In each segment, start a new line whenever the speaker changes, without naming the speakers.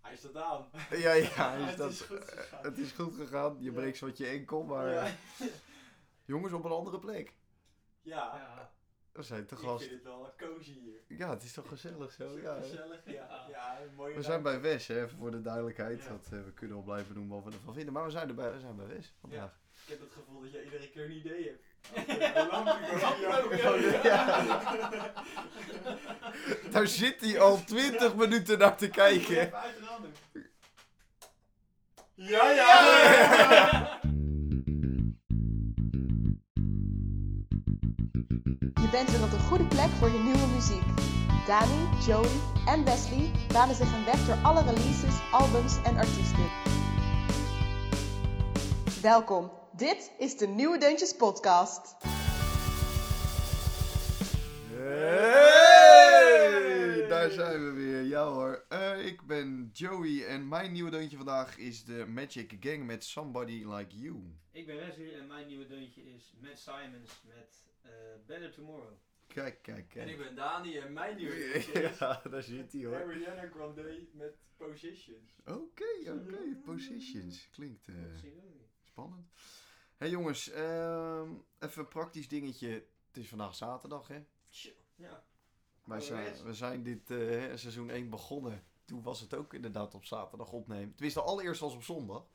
Hij is dat aan.
Ja, ja, is
het
dat-
is goed gegaan.
Het is goed gegaan. Je
Ja.
breekt zo wat je enkel, maar eh,
Ja,
jongens op een andere plek.
ja.
Ja.
We zijn te
ik
gast.
vind het wel cozy hier.
Ja, het is toch gezellig zo.
Zo
Ja, hè?
gezellig, ja. ja een mooie
we zijn bij Wes, hè, even voor de duidelijkheid.
Ja.
Dat, eh, we kunnen al blijven doen wat we ervan vinden. Maar we zijn, erbij, we zijn bij Wes vandaag.
Ik heb het gevoel dat jij iedere keer een idee hebt. Een lampje,
Lampje,
ja.
ja.
Daar zit hij al 20 minuten naar te kijken.
Even uit de rand doen. Ja, ja!
Je bent weer op de goede plek voor je nieuwe muziek. Dani, Jody en Wesley banen zich een weg door alle releases, albums en artiesten. Welkom, dit is de Nieuwe Deuntjes Podcast.
Hey! Daar zijn we weer. Ja hoor. Eh, ik ben Joey en mijn nieuwe deuntje vandaag is de Magic Gang met Somebody Like You.
Ik ben Wesley en mijn nieuwe deuntje is Matt Simons met eh, Better Tomorrow.
Kijk, kijk,
En ik
kijk.
ben Dani en mijn nieuwe
Ja, daar zit hij hoor.
Ariana Grande met Positions.
Oké, oké. Positions. Klinkt eh,
Dat zien we ook niet.
spannend. hey jongens, ehm, even een praktisch dingetje. Het is vandaag zaterdag hè.
Ja.
Wij zijn, we zijn dit eh, hè, seizoen 1 begonnen. Toen was het ook inderdaad op zaterdag opnemen. Tenminste, allereerst was op zondag.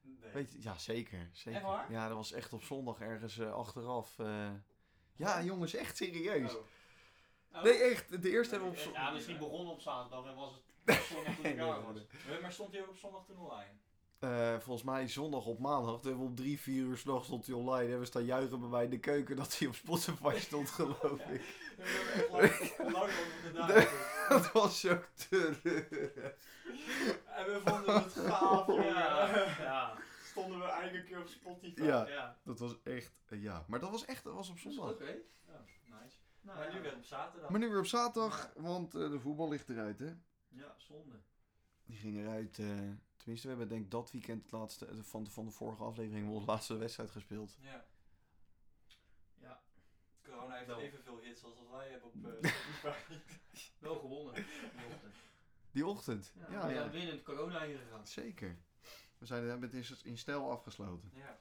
Nee.
Weet je, ja, zeker. zeker.
Echt waar?
Ja, dat was echt op zondag ergens eh, achteraf. eh. Ja, jongens, echt serieus.
Oh.
Oh.
Nee, echt. De eerste
Nee,
hebben we op
echt.
zondag.
Ja, misschien begonnen op zaterdag en was het zondag toen ik klaar was.
Eh, Maar- Maar stond hij ook op zondag toen online?
Eh, volgens mij zondag op maandag. Toen hebben we om drie, vier uur s'nachts stond hij online. En we staan juichen bij mij in de keuken dat hij op Spotify stond, geloof
Ja.
ik.
We hebben echt lang, lang over gedaan.
Dat was zo terug.
En we vonden het gaaf,
Ja.
ja.
Ja.
Stonden we eigenlijk een keer op Spotify.
Ja,
ja.
dat was echt... eh, ja, maar dat was echt... Dat was op zondag.
Ja, nice.
Nou,
Maar nu
ja.
weer op zaterdag.
Maar nu weer op zaterdag, want eh, de voetbal ligt eruit, hè?
Ja, zonde.
Die ging eruit. eh, tenminste, we hebben denk ik dat weekend het laatste, eh, van, de, van de vorige aflevering onze laatste wedstrijd gespeeld.
Ja.
Ja.
Corona heeft
Nou.
evenveel hits als wat wij hebben op eh, Spotify.
Wel gewonnen. die ochtend.
Die ochtend. Ja, ja,
we zijn winnend corona ingegaan.
zeker. We zijn hebben het in, in stijl afgesloten.
ja.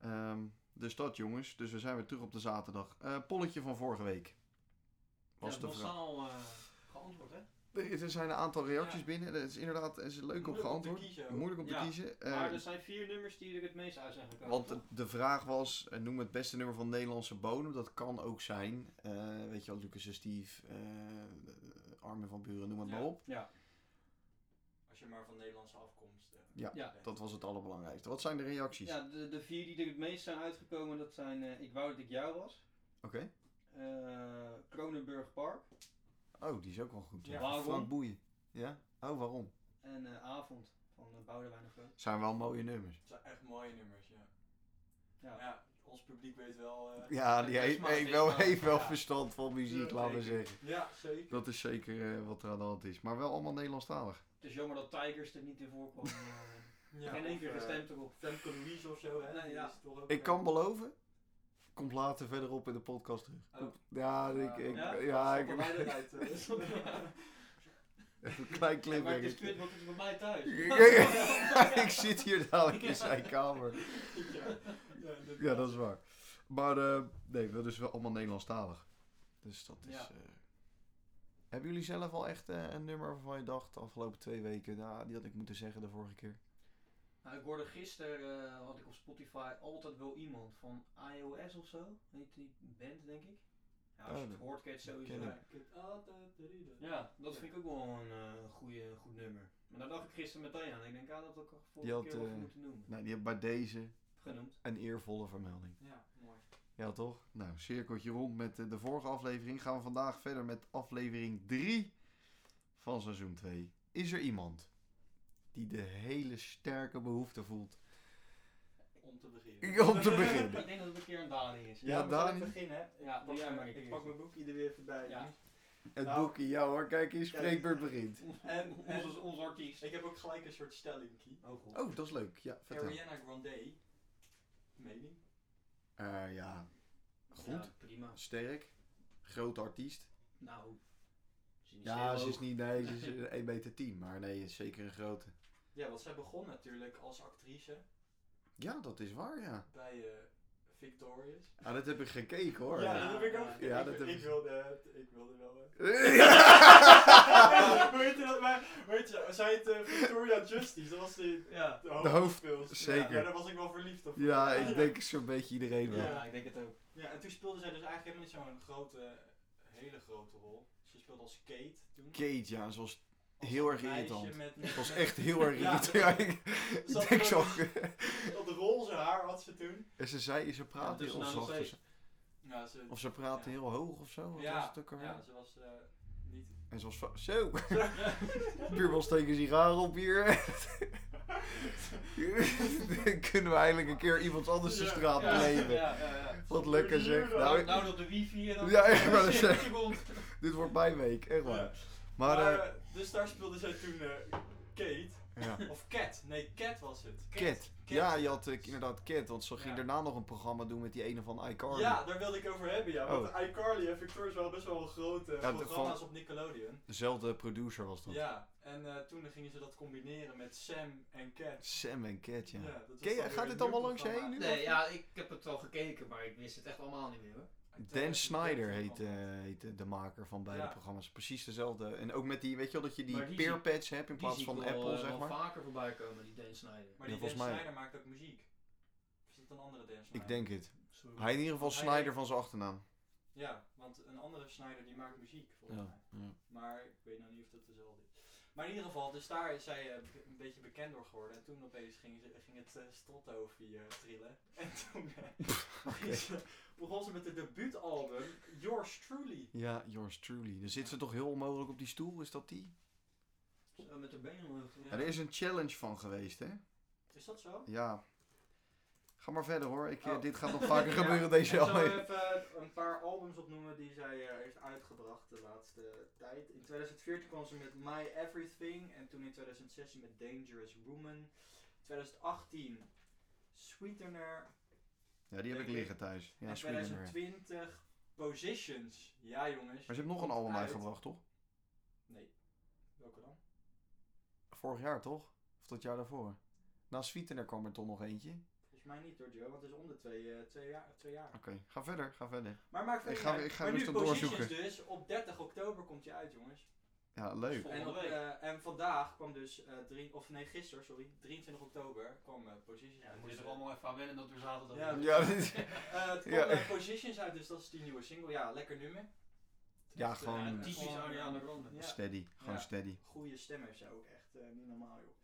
Ehm, dus dat jongens, dus we zijn weer terug op de zaterdag. Eh, polletje van vorige week. Was
ja,
de vraag.
massaal eh, geantwoord, hè?
Er er zijn een aantal reacties
Ja.
binnen. Dat is inderdaad er is leuk
Moeilijk om
op
te
geantwoord.
kiezen dus- ook.
Moeilijk om te
Ja,
kiezen. Eh,
maar er zijn vier nummers die er het meest uit zijn gekomen.
Want eh,
toch?
de- de vraag was, eh, noem het beste nummer van Nederlandse bodem. Dat kan ook zijn. Eh, weet je wel, Lucas en Steve, eh, Armin van Buren, noem het
Ja.
maar op.
Ja.
Als je maar van Nederlandse afkomst. eh,
Ja,
Ja.
bent.
Dat was het allerbelangrijkste. Wat zijn de reacties?
Ja, de, de vier die er het meest zijn uitgekomen, dat zijn eh, Ik wou dat ik jou was,
Oké.
eh, Kronenburg Park
Oh, die is ook wel goed.
Ja.
Van Frank
Waarom?
Boeien. Ja? Oh, waarom?
en eh, Avond van uh, Boudewijn de Groot.
Zijn wel mooie nummers.
Het zijn echt mooie nummers, ja.
Ja.
Maar ja, ons publiek weet wel. eh,
Ja, die
die heeft-
heeft,
smaak, heeft die wel-
wel,
smaak. heeft wel Ja.
verstand van muziek,
Ja,
laten
laten
we
we zeker.
zeggen.
ja, zeker.
Dat is zeker eh, wat er aan de hand is. Maar wel allemaal Nederlandstalig.
Het is jammer dat Tigers er niet in voorkwam. eh,
Ja,
geen één keer
of, eh,
gestemd erop.
Femke Louise of zo, hè?
Nee,
die
ja.
is toch ook,
Ik
eh,
kan beloven, komt later verderop in de podcast terug.
Oh.
Ja, ik,
Eh,
ik, ja,
ja?
ik
stappen wij eruit, eh.
even een klein
Ja, maar het is
clipje.
kut, want het is bij mij thuis.
ik zit hier dadelijk in zijn kamer.
ja, ja,
Ja, dat is waar. Maar eh, nee, dat is wel allemaal Nederlandstalig. Dus dat is...
Ja.
eh, Hebben jullie zelf al echt eh, een nummer waarvan je dacht de afgelopen twee weken, nou, die had ik moeten zeggen de vorige keer?
Nou, ik hoorde gisteren, eh, had ik op Spotify altijd wel iemand van iOS of zo, heet die band denk ik. Ja, als
Oh,
je het
dat-
hoort ken je het
ken
sowieso.
ik.
Ja, ik heb altijd de reden.
Ja, dat vind ik ook wel een eh, goeie, goed nummer. Maar daar dacht ik gisteren meteen aan. Ik denk, ja, dat had ik al vorige
Die had,
keer wel
eh,
moeten noemen.
Nou, die heb bij deze
Genoemd.
een eervolle vermelding.
Ja, mooi.
Ja, toch? Nou, cirkeltje rond met eh, de vorige aflevering. Gaan we vandaag verder met aflevering 3 van seizoen 2. Is er iemand die de hele sterke behoefte voelt
Om te beginnen.
om te
Ik
beginnen?
denk dat het een keer een Dani is.
Ja, Ja, maar zal ik Dani?
begin, hè?
Ja, doe jij maar.
Ik pak mijn boek ieder weer voorbij.
Ja.
Het
Nou.
boekje, ja hoor, kijk eens, spreekbeurt begint.
En-
Onze, onze artiest.
Ik heb ook gelijk een soort stelling, Kie.
Oh god.
Oh, dat is leuk. Ja, vertel.
Ariana Grande. Mening?
Eh, ja,
Ja,
goed.
prima.
Sterk. Groot artiest.
Nou, zie misschien niet
Ja,
zo
ze is
hoog.
niet, nee, ze is eh, 1 meter 10, maar nee, is zeker een grote.
Ja, want zij begon natuurlijk als actrice
Ja, dat is waar, ja.
bij eh, Victorious.
Ah, dat heb ik gekeken hoor.
Ja,
ja.
dat heb ik ook.
Ja,
ik,
dat heb
ik,
ik.
wilde, ik wilde wel. eh.
Ja.
hoe heet je dat? Maar, hoe heet je, zij heet eh, Victoria Justice, dat was die,
Ja.
de
De hoofd-
hoofdspils.
zeker.
Ja, daar was ik wel verliefd op.
Ja, ik denk zo'n beetje iedereen wel.
ja, ik denk het ook.
Ja, en toen speelde zij dus eigenlijk helemaal niet zo'n grote, hele grote rol. Ze speelde als Kate toen.
Kate, ja, ze was,
Als
heel
dat
erg
meisje
irritant.
met-
ze
met-
was
met-
echt heel erg
Ja,
irritant. Ja, ik, ik
Zat
denk zo.
gewoon Dat roze haar had ze toen.
En ze zei, ze
Ja,
praatte
dus
heel
nou nog
zacht.
steeds.
Ja, ze,
Of ze praatte
Ja.
heel hoog of zo. Wat
Ja,
was het ook alweer?
ja, ze was eh, niet...
En ze was va- zo. Puurbal steekt een sigaar op hier. Dan kunnen we eindelijk een keer iemand anders de
Ja,
straat
ja,
beleven.
Ja, ja,
eh,
ja.
Wat lekker zeg. Nou,
Nou, dat de wifi en dan...
Ja, ik wou dat
Shit,
zeggen.
je mond.
dit wordt mijn week, echt waar.
Ja.
Maar, eh,
eh, dus daar speelde zij toen eh, Kate.
ja.
Of Cat. Nee, Cat was het.
Cat.
Cat.
Ja, je had eh, inderdaad Cat, want ze ging
Ja.
daarna nog een programma doen met die ene van iCarly.
Ja, daar wilde ik over hebben, ja. Want
Oh.
iCarly en Victoria's wel best wel grote
Ja, de-
programma's op Nickelodeon.
Dezelfde producer was dat.
Ja, en eh, toen gingen ze dat combineren met Sam en Cat.
Sam en Cat, ja.
Ja, dat was
Ken je-
dan weer
gaat
een
dit
nieuw
allemaal langs je
programma.
heen nu?
Nee, ja, ik heb het wel gekeken, maar ik wist het echt allemaal niet meer hoor.
Uit eh,
Dan Snyder
2013
heet,
kwam
eh,
dat.
heet, eh, de maker van beide
Ja.
programma's. Precies dezelfde. En ook met die, weet je wel, dat je die
Maar die
peer
zie-
pads hebt in
Die
plaats
zie
van
ik wel,
Apple,
eh,
zeg
wel
maar.
vaker voorbij komen, die Dan Snyder.
Maar
Ja,
die Dan
volgens mij-
Snyder maakt ook muziek. Of is dat een andere Dan Snyder?
Ik denk het.
Sorry.
Hij in ieder geval
Hij-
Snyder van zijn achternaam.
Ja, want een andere Snyder die maakt muziek, volgens mij.
Ja. ja.
Maar ik weet nou niet of dat dezelfde is. Maar in ieder geval, dus daar is zij eh, be- een beetje bekend door geworden. En toen opeens ging, ze, ging het uh, strothoofdje eh, trillen. En toen eh, ging ze- begon ze met het debuutalbum Yours Truly.
Ja, yours truly. Dan zit ze toch heel onmogelijk op die stoel, is dat die?
Zo, met de benen omhoog.
Ja.
Ja, er is een challenge van geweest, hè?
Is dat zo?
Ja. Ga maar verder hoor. Ik, eh,
Oh.
Dit gaat nog vaker
Ja, eh,
gebeuren deze
ik zal
aflevering.
even een paar albums opnoemen die zij eh, heeft uitgebracht de laatste tijd. In 2014 kwam ze met My Everything en toen in 2016 met Dangerous Woman. 2018 Sweetener
Ja, die heb ik
Denk ik.
liggen thuis. Ja,
en
Sweden weer.
2020 Positions. Ja jongens.
Maar ze heeft nog een
Komt
album
uit.
uitgebracht, toch?
Welke dan?
Vorig jaar, toch? Of dat jaar daarvoor? Na Sweetener kwam er toch nog eentje. Oké,
Volgens mij niet door Joe, want het is om de twee, eh, twee, jaar, twee jaar.
ga verder, ga verder.
Maar maakt verder
Ik
niet
ga-
uit.
ik ga
maar nu
rustig
Positions
doorzoeken.
dus. Op 30 oktober komt je uit jongens.
Ja, leuk.
Vol-
En,
Volgende
op,
week.
eh, en vandaag kwam dus, eh, drie, of nee gisteren, sorry, 23 oktober kwam eh, Positions
Ja,
uit. Dus,
we moeten er
eh,
allemaal even aan wennen dat we zaterdag...
Ja,
Ja, dit-
eh, het kwam
Ja.
eh, Positions uit, dus dat is die nieuwe single. Ja, lekker nummer.
Ja,
Dus, eh,
gewoon-
en
Typisch
gewoon,
Ariana
eh,
Grande.
ja,
steady, gewoon
Ja.
steady.
Goede stem heeft zij ook echt, eh, niet normaal joh.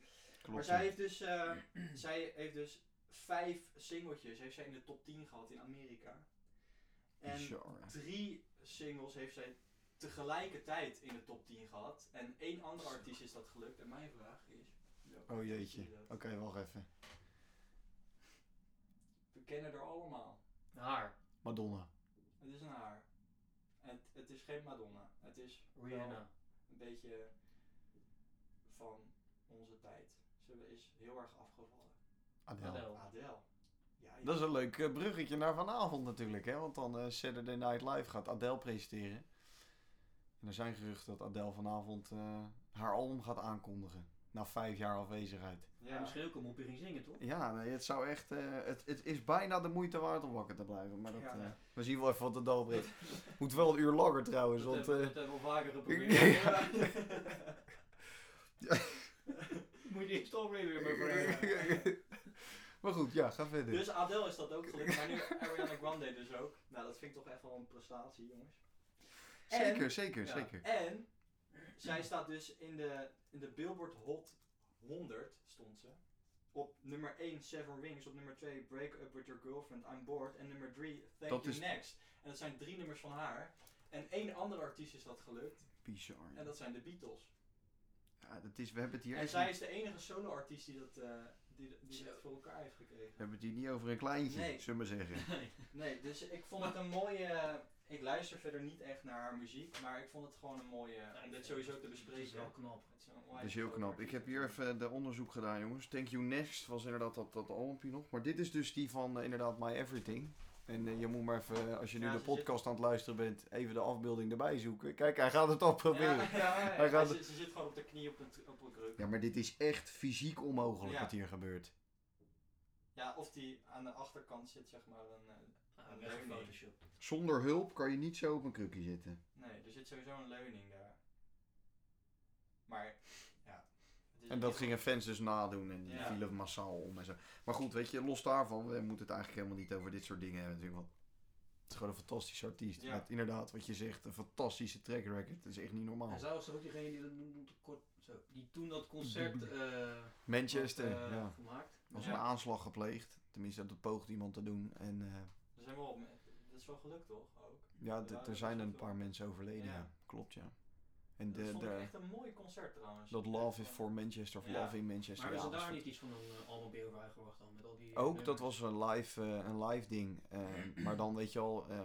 Klopt.
Maar zij heeft, dus, eh, zij heeft dus vijf singeltjes heeft zij in de top 10 gehad in Amerika. En
Bizar.
drie singles heeft zij tegelijkertijd in de top 10 gehad. En één andere artiest is dat gelukt. En mijn vraag is... welke
Oh
artiest
jeetje.
is dat?
Oké, wacht even.
We kennen er allemaal.
Haar.
Madonna.
Het is een haar. Het, het is geen Madonna. Het is wel
Rihanna.
een beetje van onze tijd. Ze is heel erg afgevallen.
Adele.
Adele.
Adele. Ja,
Dat is een leuk eh, bruggetje naar vanavond natuurlijk, hè? Want dan eh, Saturday Night Live gaat Adele presenteren. En er zijn geruchten dat Adele vanavond eh, haar album gaat aankondigen. Na vijf jaar afwezigheid.
Ja.
ja.
Misschien ook om op je ging zingen, toch?
Ja, nee, het zou echt. eh, het, het is bijna de moeite waard om wakker te blijven. Maar dat,
Ja.
eh, we zien wel even wat het dal brengt. Moet wel een uur langer trouwens.
dat
Want,
hebben we
eh,
dat hebben we al vaker geprobeerd.
ja.
Moet je eerst alweer weer maar vragen.
maar goed, ja, ga verder.
Dus Adele is dat ook gelukt. Maar nu Ariana Grande dus ook. Nou, dat vind ik toch echt wel een prestatie, jongens. En-
zeker, zeker,
Ja.
zeker.
En zij staat dus in de, in de Billboard Hot 100 stond ze. Op nummer 1 Seven Rings, op nummer 2 Break Up With Your Girlfriend, I'm Bored. En nummer 3 Thank
Dat
You
is-
Next. En dat zijn drie nummers van haar. En één andere artiest is dat gelukt.
Bizar.
En dat zijn de Beatles.
Ja, dat is, we hebben het hier
En
echt
zij
niet,
is de enige solo-artiest die dat, eh, die, die dat
Zo.
voor elkaar heeft gekregen.
we hebben het hier niet over een kleintje,
Nee.
zullen we zeggen.
Nee, dus ik vond het een mooie... Ik luister verder niet echt naar haar muziek, maar ik vond het gewoon een mooie... om dit sowieso te
Dat is
bespreken.
wel knap.
Het een
Dat
onwijs
is heel
grote
knap. Ik heb hier
artiest.
even de onderzoek gedaan, jongens. Thank You Next was inderdaad dat, dat albumpje nog. Maar dit is dus die van eh, inderdaad eh, My Everything. En eh, je moet maar even, eh, als je nu
Ja,
de
ze zit-
podcast aan het luisteren bent, even de afbeelding erbij zoeken. Kijk, hij gaat het al proberen. Ja,
Ja, ja, ja.
Hij gaat-
Ze, ze zit gewoon op de knie op een, t- op een kruk.
maar dit is echt fysiek onmogelijk
Ja.
wat hier gebeurt.
Ja, of die aan de achterkant zit, zeg maar. Een, eh,
Ah,
Nee, nee.
Photoshop.
Zonder hulp kan je niet zo op een krukje zitten.
nee, er zit sowieso een leuning daar. Maar, ja. het is
En dat
niet-
gingen fans dus nadoen en die
Ja.
vielen massaal om en zo. Maar goed, weet je, los daarvan, we moeten het eigenlijk helemaal niet over dit soort dingen hebben natuurlijk. Want het is gewoon een fantastische artiest.
Ja.
Met inderdaad, wat je zegt, een fantastische track record. Dat is echt niet normaal.
En zij was toch ook diegene die, dat noemde kort, zo, die toen dat concert eh,
Manchester,
had, eh,
ja.
gemaakt.
Er was
Ja.
een aanslag gepleegd. Tenminste, dat poogde iemand te doen. En eh,
Er zijn wel, dat is wel gelukt, toch? Ook.
ja,
Er
d-
waren
er zijn
best
een
wel-
paar mensen overleden.
Ja.
Ja. Klopt, ja. En
dat
de,
vond ik
de,
echt een mooi concert, trouwens.
dat Love is for Manchester, of
Ja.
Love in Manchester.
Maar is
ja,
er
dat is
daar
fant-
niet iets van een uh, album bij over uitgebracht dan? Met al die
Ook,
nummers?
dat was een live, eh, een live ding. Eh, maar dan weet je al, eh,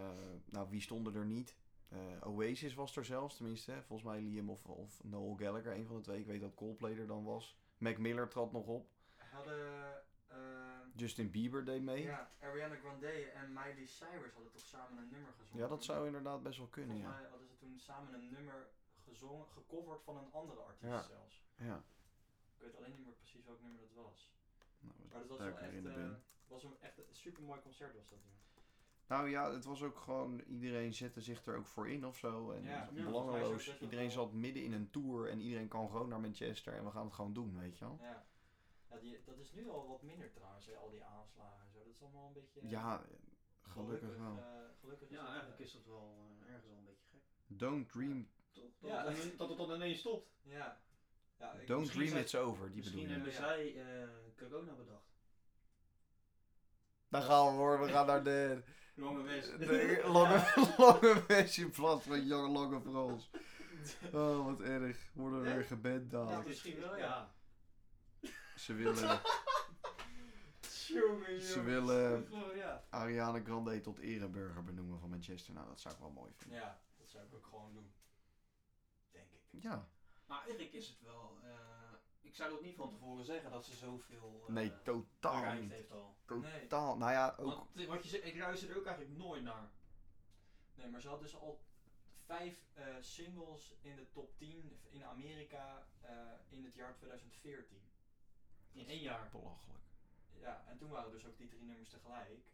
nou wie stonden er niet? Eh, Oasis was er zelfs, tenminste. hè. Volgens mij Liam of, of Noel Gallagher, een van de twee. Ik weet dat Coldplay er dan was. Mac Miller trad nog op.
Hadden, eh,
Justin Bieber deed mee. Ja,
ja, Ariana Grande en Miley Cyrus hadden toch samen een nummer gezongen?
dat zou inderdaad best wel kunnen,
Volgens
ja.
mij hadden ze toen samen een nummer gezongen, gecoverd van een andere artiest
Ja.
zelfs.
ja.
Ik weet alleen niet meer precies welk nummer dat was.
Nou,
Maar dat was
daar
wel
ik weer
echt,
in de
eh,
bin.
was een, echt een super mooi concert was dat. Ja.
Nou ja, het was ook gewoon, iedereen zette zich er ook voor in of zo. En
Ja, ja,
het
volgens mij
is
is ook best
belangeloos.
wel-
Iedereen zat midden in een tour en iedereen kan gewoon naar Manchester en we gaan het gewoon doen, weet je wel.
Ja. Ja, die, dat is nu al wat minder trouwens, hè, al die aanslagen en zo. Dat is allemaal een beetje.
Ja, eh, gelukkig wel.
eh, gelukkig is
Ja,
het, eh,
eigenlijk is dat wel eh, ergens al een beetje gek.
Don't dream,
Toch? Dat,
Ja.
het dan- dat het dan ineens stopt.
Ja. ja ik-
don't
misschien
dream
zijn-
it's over, die bedoel
Misschien
je.
hebben
Ja.
zij eh, corona bedacht.
Daar gaan we hoor, we gaan naar de,
Lange west.
de lange, lange versie in plaats van Young Lange Frans. Oh, wat erg. Worden we
Ja?
weer gebed
Ja,
dadelijk.
misschien wel, ja.
Ze willen
Jongen,
Ze willen-
Oh, ja.
Ariana Grande tot ereburger benoemen van Manchester. Nou, dat zou ik wel mooi vinden.
ja, dat zou ik ook gewoon doen. Denk ik.
Ja.
Maar eigenlijk is het wel. eh, ik zou dat niet van tevoren zeggen dat ze zoveel. eh,
Nee, totaal
bereikt
niet.
heeft al.
Nee.
Totaal. Nou ja, ook
Want, eh, wat je zegt, ik ruis er ook eigenlijk nooit naar.
Nee, maar ze had dus al vijf eh, singles in de top 10 in Amerika eh, in het jaar 2014.
In één jaar.
belachelijk.
Ja, en toen waren dus ook die drie nummers tegelijk.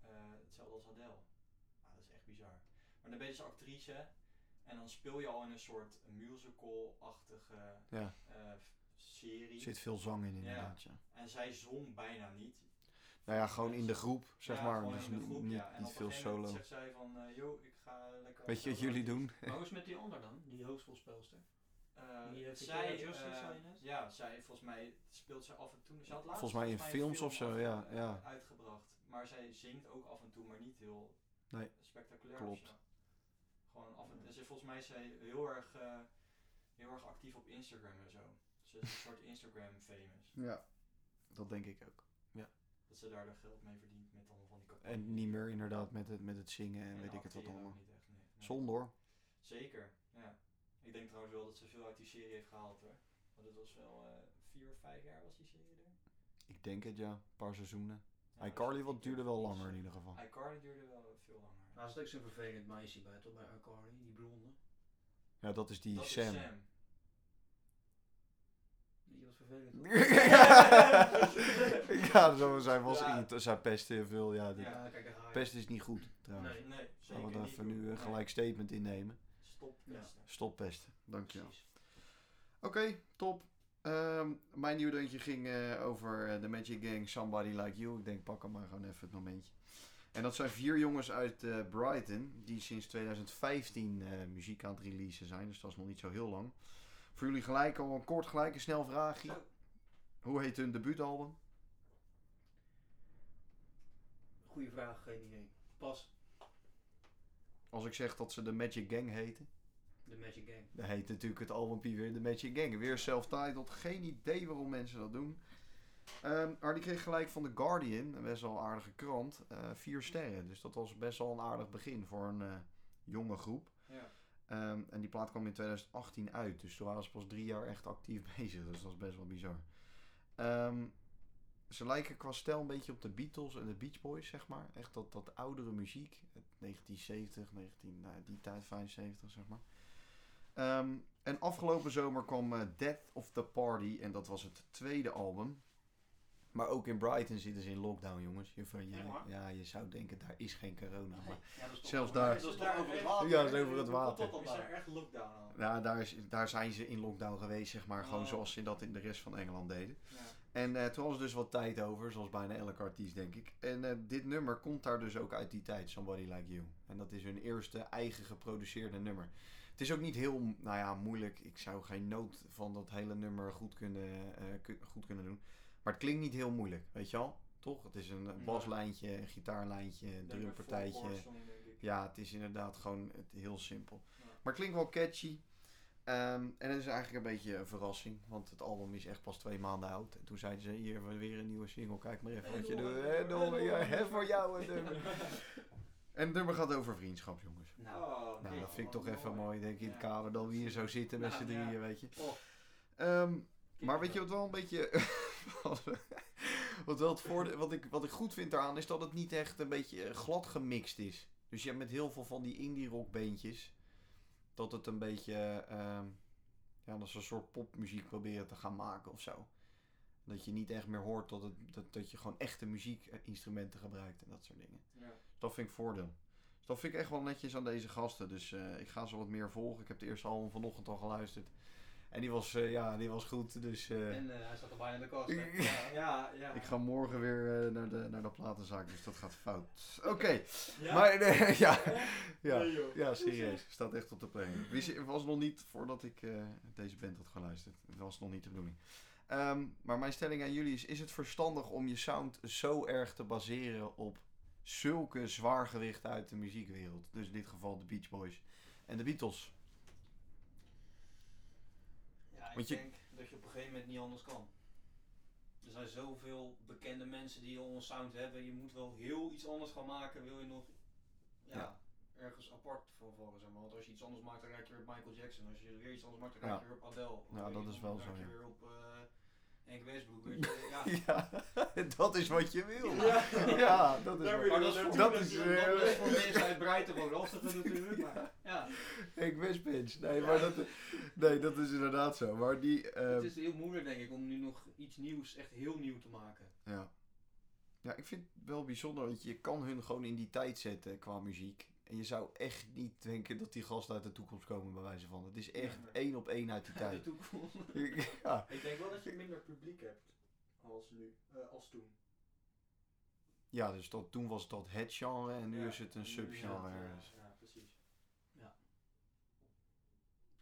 Eh, hetzelfde als Adele. Ah, dat is echt bizar. Maar dan ben je dus actrice en dan speel je al in een soort musical-achtige
Ja.
eh, serie.
Er zit veel zang in
Ja.
inderdaad, ja.
En zij zong bijna niet.
Nou ja, gewoon in de groep, zeg
Ja,
maar.
gewoon
Dus
in de
niet-
groep,
niet,
ja. En
niet
op
veel
een gegeven moment
solo.
zegt zij van, eh, yo, ik ga lekker...
Weet je wat
solo-
jullie doen?
Maar hoe is het met die ander dan? Die hoofdrolspeelster?
Eh,
Die, eh, Victoria
zij,
Justice,
eh,
zei je net?
ja, zij volgens mij speelt ze af en toe. Ze had laatst
Volgens mij in
een
films
film
of zo, ja,
af- eh,
ja.
Uitgebracht. Maar zij zingt ook af en toe, maar niet heel
Nee,
spectaculair.
klopt.
of zo. Gewoon af en toe. Ze, volgens mij is zij heel erg, eh, heel erg actief op Instagram en zo. Ze is een soort Instagram famous.
Ja. Dat denk ik ook.
Dat ze daar de geld mee verdient met allemaal van die campagnes.
En niet meer inderdaad met het, met het zingen en, weet ik het wat
acteren ook
allemaal.
niet echt, nee, nee.
Zonde hoor.
Zeker, ja. Ik denk trouwens wel dat ze veel uit die serie heeft gehaald hoor. Want het was wel eh, vier of vijf jaar was die serie er.
Ik denk het ja, een paar seizoenen.
Ja,
iCarly,
dus
wat
ik
duurde
denk
wel
iets,
langer in
eh,
ieder geval.
iCarly duurde wel veel langer.
Daar Nou, zit ook zo'n vervelend meisje bij, toch? Bij Akari, die blonde.
Ja, dat is die
Dat is
Sam.
Weet je wat vervelend was?
ja, zo, zij, was
Ja.
irrit- zij pestte heel veel. Ja, dit-
Ja, kijk, daar ga je.
Pest is niet goed trouwens.
Nee.
Nee,
Gaan
zeker
we daar
niet
even
doen.
nu eh,
Nee,
gelijk statement innemen.
Stop
Ja.
pesten.
Stop pesten. Dankjewel.
Precies.
Oké, top. Ehm, mijn nieuwdeuntje ging eh, over eh, The Magic Gang, Somebody Like You. Ik denk, pak hem maar gewoon even het momentje. En dat zijn vier jongens uit eh, Brighton, die sinds 2015 eh, muziek aan het releasen zijn. Dus dat is nog niet zo heel lang. Voor jullie gelijk al een kort gelijk een snel vraagje.
Zo.
Hoe heet hun debuutalbum?
Goeie vraag, geen idee. Pas
Als ik zeg dat ze The Magic Gang heten.
de Magic Gang.
Dat heet natuurlijk het albumpje weer The Magic Gang. Weer self-titled. Geen idee waarom mensen dat doen. Ehm, maar die kreeg gelijk van The Guardian, een best wel een aardige krant, eh, vier sterren. Dus dat was best wel een aardig begin voor een eh, jonge groep.
Ja.
Ehm, en die plaat kwam in 2018 uit. Dus toen waren ze pas drie jaar echt actief bezig. Dus dat is best wel bizar. Ehm, Ze lijken qua stijl een beetje op de Beatles en de Beach Boys, zeg maar. Echt dat, dat oudere muziek. Het 1970, 19, nou, die tijd 75, zeg maar. Ehm, en afgelopen zomer kwam eh, Death of the Party. En dat was het tweede album. Maar ook in Brighton zitten ze in lockdown, jongens. Je, van- je-
Echt waar?
ja, je zou denken, daar is geen corona. Maar
Ja, dat is toch-
Zelfs
maar
daar.
Dat is toch over het water.
Ja, dat is over het water.
Tot is er echt lockdown al.
Nou, daar, is, daar zijn ze in lockdown geweest, zeg maar. Gewoon
Oh.
zoals ze dat in de rest van Engeland deden.
Ja.
En eh, toen was er dus wat tijd over, zoals bijna elke artiest, denk ik. En eh, dit nummer komt daar dus ook uit die tijd, Somebody Like You. En dat is hun eerste eigen geproduceerde nummer. Het is ook niet heel, nou ja, moeilijk. Ik zou geen noot van dat hele nummer goed kunnen, eh, ku- goed kunnen doen. Maar het klinkt niet heel moeilijk, weet je wel? Toch? Het is een eh,
Ja.
baslijntje, een gitaarlijntje, een
Ik denk met
drumpartijtje.
Four Chords, denk ik.
Ja, het is inderdaad gewoon het, heel simpel.
Ja.
Maar het klinkt wel catchy. Ehm, en het is eigenlijk een beetje een verrassing, want het album is echt pas twee maanden oud. En toen zeiden ze, hier hebben we weer een nieuwe single, kijk maar even
En
wat je
nog
doet.
een
En
nummer,
nog
en
een- ja,
nog een
hè, voor
nummer.
jou een nummer. En het nummer gaat over vriendschap, jongens.
Nou,
Oh,
Nou,
nee,
dat vind ik
wat
toch even
mooi.
mooi, denk ik, in het
Ja.
kader dat we hier zo zitten met
Nou,
z'n
ja.
drieën, weet je.
Oh.
Ehm, maar weet je wat wel een beetje. wat, wel het voorde- wat, ik, wat ik goed vind daaraan is dat het niet echt een beetje eh, glad gemixt is. Dus je hebt met heel veel van die indie rock beentjes. Dat het een beetje. ehm, ja, dat ze een soort popmuziek proberen te gaan maken of zo. Dat je niet echt meer hoort dat, het, dat, dat je gewoon echte muziekinstrumenten gebruikt en dat soort dingen.
Ja.
Dat vind ik voordeel. Dus dat vind ik echt wel netjes aan deze gasten. Dus eh, ik ga ze wat meer volgen. Ik heb de eerste album vanochtend al geluisterd. En die was, eh, ja, die was goed. Dus eh,
En eh, hij zat er bijna in de kast. hè.
ik,
Ja, ja.
ik ga morgen weer eh, naar, de, naar de platenzaak. Dus dat gaat fout. Oké.
Ja?
Maar eh, ja, ja,
Nee, joh.
ja, serieus. Staat echt op de planning. Wist je- was nog niet voordat ik eh, deze band had geluisterd. Dat was nog niet de bedoeling. Ehm, maar mijn stelling aan jullie is: is het verstandig om je sound zo erg te baseren op zulke zwaargewichten uit de muziekwereld? Dus in dit geval de Beach Boys en de Beatles.
Ja, ik
Want je-
denk dat je op een gegeven moment niet anders kan. Er zijn zoveel bekende mensen die al een sound hebben. Je moet wel heel iets anders gaan maken, wil je nog ja,
Ja.
ergens apart van vallen. Zeg maar. Want als je iets anders maakt, dan raak je weer op Michael Jackson. Als je weer iets anders maakt, dan raak je weer op Adele.
Ja,
Weet
dat
je,
is
dan
wel
raak
zo,
je
ja.
weer op eh Henk Westbroek. weet je. Ja.
Ja, dat is wat je wil.
Ja.
Ja, dat is
Daar wil
wat
je wel
Maar dat is voor,
naartoe
dat
dat
is,
is,
natuurlijk.
eh,
voor mensen uit Breiten gewoon lastig natuurlijk. Maar ja,
Ik wist bitch. Nee, maar dat, nee, dat is inderdaad zo. Maar die. ehm,
het is heel moeilijk denk ik om nu nog iets nieuws, echt heel nieuw te maken.
ja. ja, ik vind het wel bijzonder, want je kan hun gewoon in die tijd zetten qua muziek. En je zou echt niet denken dat die gasten uit de toekomst komen, bij wijze van. Het is echt
Nee.
één op één uit die
De
tijd.
toekomst.
ja.
Ik denk wel dat je minder publiek hebt als nu, eh, als toen.
ja, dus dat, toen was dat het genre en nu
Ja,
is het een
en nu is
subgenre.
het, eh,
ergens.
Ja, precies.
Ja.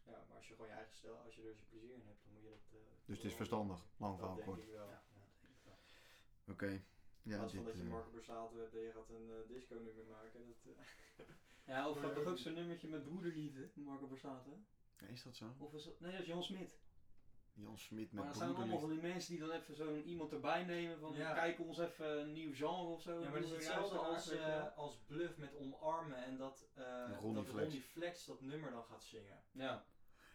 Ja, maar als je gewoon je eigen stijl, als je er zijn plezier in hebt, dan moet je dat... eh,
Dus het is
wel-
verstandig, lang
Dat
verhaal
denk
kort.
ik wel.
Ja.
Oké. Ja,
In plaats
dit,
van dat je
eh,
Marco Borsato hebt en je gaat een eh, disco nummer maken. Dat, eh,
Ja, of
Maar,
had toch ook
eh,
zo'n nummertje met broederliefde, Marco Borsato?
is dat zo?
Of is dat, nee, dat is Jan Smit.
Jan Smit
Maar
met
dat zijn allemaal
broederliefde.
van die mensen die dan even zo'n iemand erbij nemen van
Ja.
kijk ons even een nieuw genre of zo.
Ja, maar het is
Hoe we
hetzelfde
luisteren
als,
naar, weet je
eh, als Bluff met omarmen en dat, eh
Ronnie
dat
Flex.
Ronnie Flex dat nummer dan gaat zingen.
wel. Ja.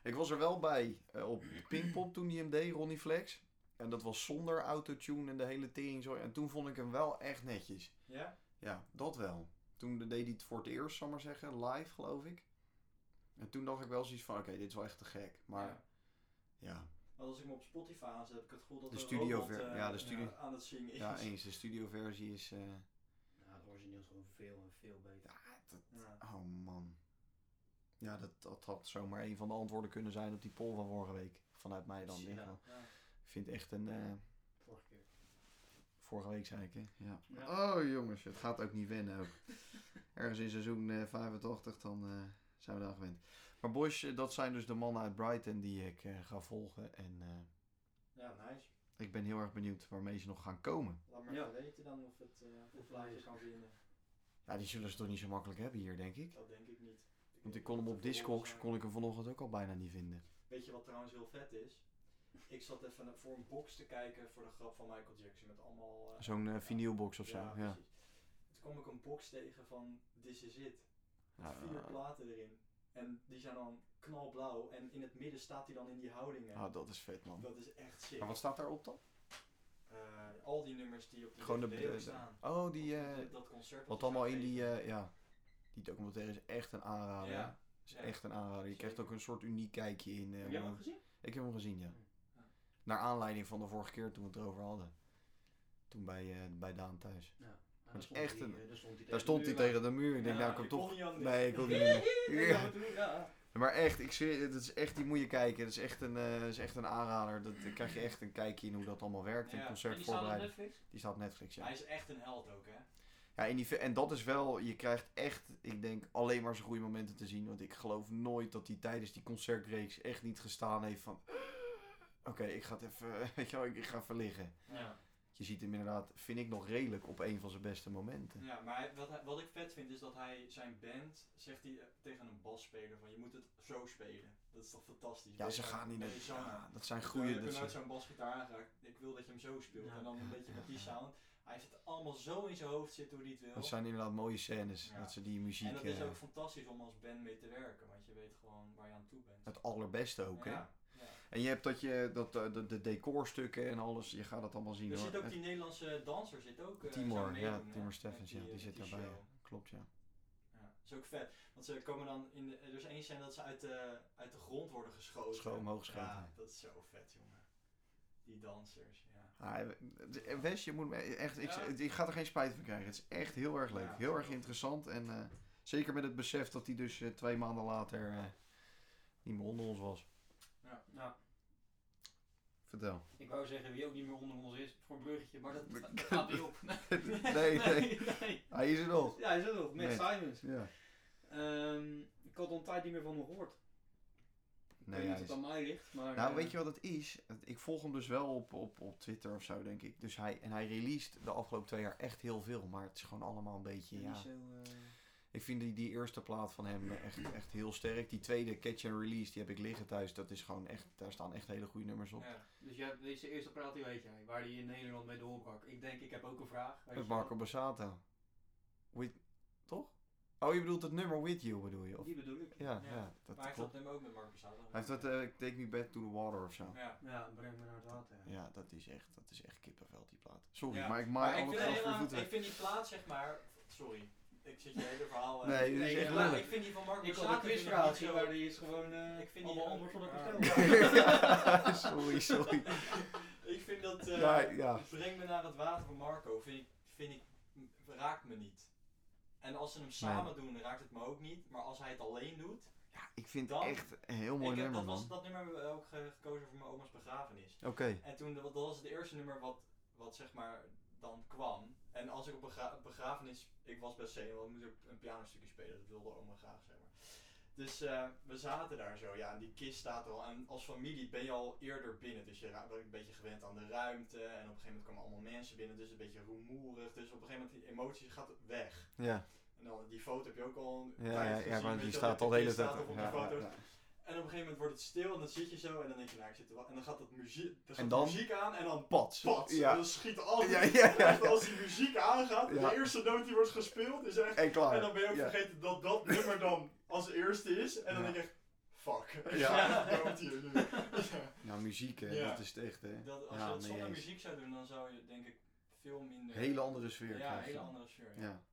Ik was er wel bij eh, op Pinkpop toen hij hem deed, Ronnie Flex. En dat was zonder autotune en de hele tering zo. En toen vond ik hem wel echt netjes.
Ja?
Ja, dat wel. Toen deed hij het voor het eerst, zal ik maar zeggen, live geloof ik. En toen dacht ik wel zoiets van, oké, dit is wel echt te gek. Maar ja,
Ja. Want als ik hem op Spotify aanzet, heb ik het gevoel dat
De
een
studio
robot,
ver-
eh,
ja, de studio-
aan het zingen
ja,
is.
eens. De studioversie is... eh,
ja, het origineel is gewoon veel en veel beter.
ja, dat-
Ja.
oh man. Ja, dat, dat had zomaar een van de antwoorden kunnen zijn op die poll van vorige week. Vanuit mij dan. in ieder
Ja.
geval.
Ja.
Ik vind echt een... eh,
Vorige keer.
Vorige week zei ik, hè? Ja.
Ja.
Oh jongens, het gaat ook niet wennen ook. Ergens in seizoen eh, 85, dan eh, zijn we daar gewend. Maar boys, eh, dat zijn dus de mannen uit Brighton die ik eh, ga volgen. En eh,
ja, nice.
ik ben heel erg benieuwd waarmee ze nog gaan komen.
Laat maar
Ja.
even weten dan of het eh of plaatje kan vinden.
Ja, die zullen ze toch niet zo makkelijk hebben hier, denk ik.
Dat denk ik niet. eh,
Want ik kon hem op Discogs, kon ik hem vanochtend ook al bijna niet vinden.
Weet je wat trouwens heel vet is? Ik zat even naar- voor een box te kijken voor de grap van Michael Jackson met allemaal... eh,
Zo'n eh, vinylbox of zo, ja.
precies. Toen kwam ik een box tegen van This Is It.
Ja,
vier
eh,
platen erin. En die zijn dan knalblauw. En in het midden staat hij dan in die houdingen.
ah, dat is vet, man.
Dat is echt sick.
Maar wat staat daarop dan?
eh, al die nummers die op de
Gewoon de-
DVD ook
de-
staan.
Oh, die...
Op-
eh,
dat- dat concert.
wat
ze
allemaal in
gegeven.
die... eh, ja, die documentaire is echt een aanrader.
Ja.
Is
ja.
echt een aanrader. Je krijgt
Zeker.
ook een soort uniek kijkje in. eh,
Heb jij hem
hoe-
ook gezien?
Ik heb hem gezien, ja.
Ja.
Naar aanleiding van de vorige keer toen we het erover hadden. Toen bij, eh, bij Daan thuis.
Ja,
Het is echt een-
daar Ah, stond hij
Daar stond hij tegen de muur. Ik denk,
Ja,
nou, ik
je
kom
kon
toch...
niet anders.
Nee, ik wil niet. Ja.
Ja.
Maar echt, ik zweer, dat is echt, die moet je kijken. Dat is echt een, eh, is echt een aanrader. Dat, dan krijg je echt een kijkje in hoe dat allemaal werkt.
Ja,
Een
en
En
concert
die staat op
voorbereiden.
Netflix?
Die staat op Netflix, ja.
Hij is echt een held ook, hè?
ja in die, fi- en dat is wel, je krijgt echt, ik denk, alleen maar zijn goede momenten te zien. Want ik geloof nooit dat hij tijdens die concertreeks echt niet gestaan heeft van... Oké, ik ga het even, weet je wel, ik ik ga even liggen.
Ja.
Je ziet hem inderdaad, vind ik nog redelijk, op een van zijn beste momenten.
Ja, maar hij- wat, hij- wat ik vet vind is dat hij zijn band, zegt hij eh, tegen een basspeler van je moet het zo spelen. Dat is toch fantastisch.
Ja,
Weet
ze
je,
gaan niet
met
naar...
die zanger.
Ja, dat zijn
Goeie,
goede...
ik
dat
heb nooit
zijn-
zo'n basgitaar aangeraakt. Ik wil dat je hem zo speelt.
Ja.
En dan een beetje met die sound. Hij heeft het allemaal zo in zijn hoofd zitten hoe hij het wil.
Dat zijn inderdaad mooie scènes.
Ja.
Dat ze die muziek...
en dat is
eh,
ook fantastisch om als band mee te werken. Want je weet gewoon waar je aan toe bent.
het allerbeste ook, hè?
Ja, ja.
En je hebt dat je, dat, eh, de, de decorstukken en alles, je gaat dat allemaal zien
Er
hoor.
zit ook
Eh,
die Nederlandse danser zit ook. eh,
Timor,
zou
ja,
meedoen, hè,
Timor
met
Steffens, ja,
eh,
die
met
zit daarbij,
show.
Klopt, ja.
Ja, is ook vet. Want ze komen dan in de, er is één scène dat ze uit de, uit de grond worden geschoten.
Scho- omhoog geschoten,
Ja,
ja.
dat is zo vet, jongen. Die dansers, ja.
Ah, eh, Wes, je moet me echt, ik,
Ja.
ik ga er geen spijt van krijgen. Het is echt heel erg leuk,
Ja.
heel erg interessant. En eh, zeker met het besef dat hij dus eh, twee maanden later eh, niet meer onder ons was.
Nou,
Vertel.
ik wou zeggen wie ook niet meer onder ons is voor een bruggetje, maar dat dat gaat niet op.
nee, nee.
nee.
Hij is er nog.
Ja, is dat wel. Matt
Nee.
Simons.
Ja.
Ehm, ik had al een tijd niet meer van hem gehoord.
Nee,
ik weet
hij is-
niet of het aan mij ligt, maar...
Nou,
eh,
weet je wat het is? Het- Ik volg hem dus wel op, op, op Twitter of zo, denk ik. Dus hij, en hij released de afgelopen twee jaar echt heel veel. Maar het is gewoon allemaal een beetje,
niet
ja...
zo, eh,
Ik vind die, die eerste plaat van hem echt, echt heel sterk. Die tweede, Catch and Release, die heb ik liggen thuis. Dat is gewoon echt, daar staan echt hele goede nummers op.
Ja.
Dus jij, deze eerste praat die weet jij, waar die in Nederland mee doorbrak. Ik denk, ik heb ook een vraag. weet
Met
je wel.
Marco Borsato. With, toch? Oh, je bedoelt het nummer With You, bedoel je? Of,
Die bedoel ik.
ja, ja,
Ja. maar
dat
hij heeft
klopt.
dat nummer ook met Mark Borsato.
Hij heeft dat eh, Take Me Back to the Water of zo.
Ja.
Ja, breng me naar het water. ja.
Ja, dat is echt, dat is echt kippenveld, die plaat. Sorry,
Ja.
maar ik
Maar
maai
ik
al het
vind,
gras voor je
helemaal-
voeten.
ik vind die plaat, zeg maar... Sorry, ik zit je hele verhaal... eh,
Nee, dit is
nee,
echt
maar
lullig.
Ik vind die van Mark
Ik had
Borsato...
een
vind ik niet
quizvraagje
zo-
waar die is gewoon eh
Ik vind die-
allemaal antwoord van
Ja.
het
Ja, sorry, sorry.
Ik vind dat... eh
Ja, ja.
Breng me naar het water van Marco. Vind ik, vind ik, m- raakt me niet. En als ze hem samen doen, raakt het me ook niet. Maar als hij het alleen doet...
Ja, ik vind het
Dan?
echt een heel
ik
mooi
heb,
nummer,
dat,
man.
was, dat nummer hebben we ook ge- gekozen voor mijn oma's begrafenis.
Oké,
En toen, dat was het eerste nummer wat, wat zeg maar dan kwam. En als ik op begra- begrafenis, ik was best zenuwachtig, want ik moest ook een pianostukje spelen, dat wilde oma graag, zeg maar. Dus eh, we zaten daar zo, ja, en die kist staat al. En als familie ben je al eerder binnen, dus je ra- bent een beetje gewend aan de ruimte. En op een gegeven moment kwamen allemaal mensen binnen, dus een beetje rumoerig. Dus op een gegeven moment, die emotie gaat weg.
ja.
En dan, die foto heb je ook al een
Ja,
tijd
ja,
gezien,
ja, maar
weet
die
je wel,
staat
dat
al de hele
kist
tijd.
staat op op die
ja, ja,
foto's.
ja.
En op een gegeven moment wordt het stil en dan zit je zo en dan denk je, nou ik zit er wel. En dan gaat dat muziek, dan gaat
En dan?
de muziek aan en dan
Pats.
pat. En
Ja.
dan schiet alles.
Ja, ja, ja,
echt Als die muziek aangaat,
Ja.
de eerste noot die wordt gespeeld is echt.
En klaar.
En dan ben je ook
ja.
vergeten dat dat nummer dan als eerste is. En dan
Ja.
denk je echt, fuck.
Ja.
ik dood hier nu. Ja.
Nou, muziek, hè.
Ja.
Dat is het echt, hè.
Dat, als
Ja,
je dat
mee
zonder
eens.
muziek zou doen, dan zou je denk ik veel minder.
Hele andere sfeer
Ja,
krijg je.
hele andere sfeer. Ja.
Ja.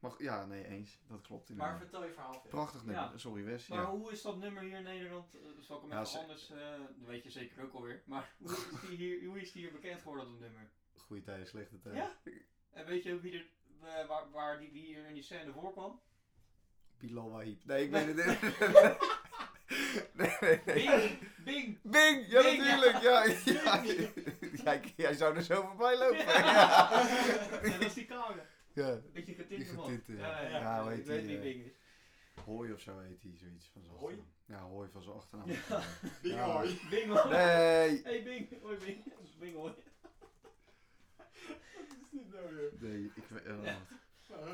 Mag, ja, nee, eens. Dat klopt
Maar
inderdaad.
vertel je verhaal verder.
Prachtig nummer.
Ja.
Sorry, Wes.
Maar
Ja.
hoe is dat nummer hier in Nederland? eh, Zal ik hem
Ja, ze-
even anders... eh, dat weet je zeker ook alweer. Maar hoe is die hier, hoe is die hier bekend geworden, dat nummer?
Goeie tijden, slechte tijden.
Ja? En weet je wie er, eh, waar, waar die, wie hier in die scène voorkwam?
Bilal Wahib. Nee, ik weet het
Nee.
niet. Nee, nee, nee.
Bing! Bing!
Bing! Ja,
Bing, ja.
natuurlijk! Ja, ja. Jij- jij zou er zo voorbij lopen. Ja,
Ja, dat is die koude.
ja.
Een beetje
die
getinte man.
getinte. Ja,
Ja,
ja,
ja.
hoe
ik
heet
weet
die,
wie
eh,
Bing is.
Hooi of zo heet hij, zoiets van zijn
Hooi?
achternaam. Ja, Hooi van zijn achternaam.
Big
Ja.
hoi.
Bing hoor.
Nee!
Hey Bing! Hoi Bing! Bing hoor.
Nee, ik weet eh,
Ja.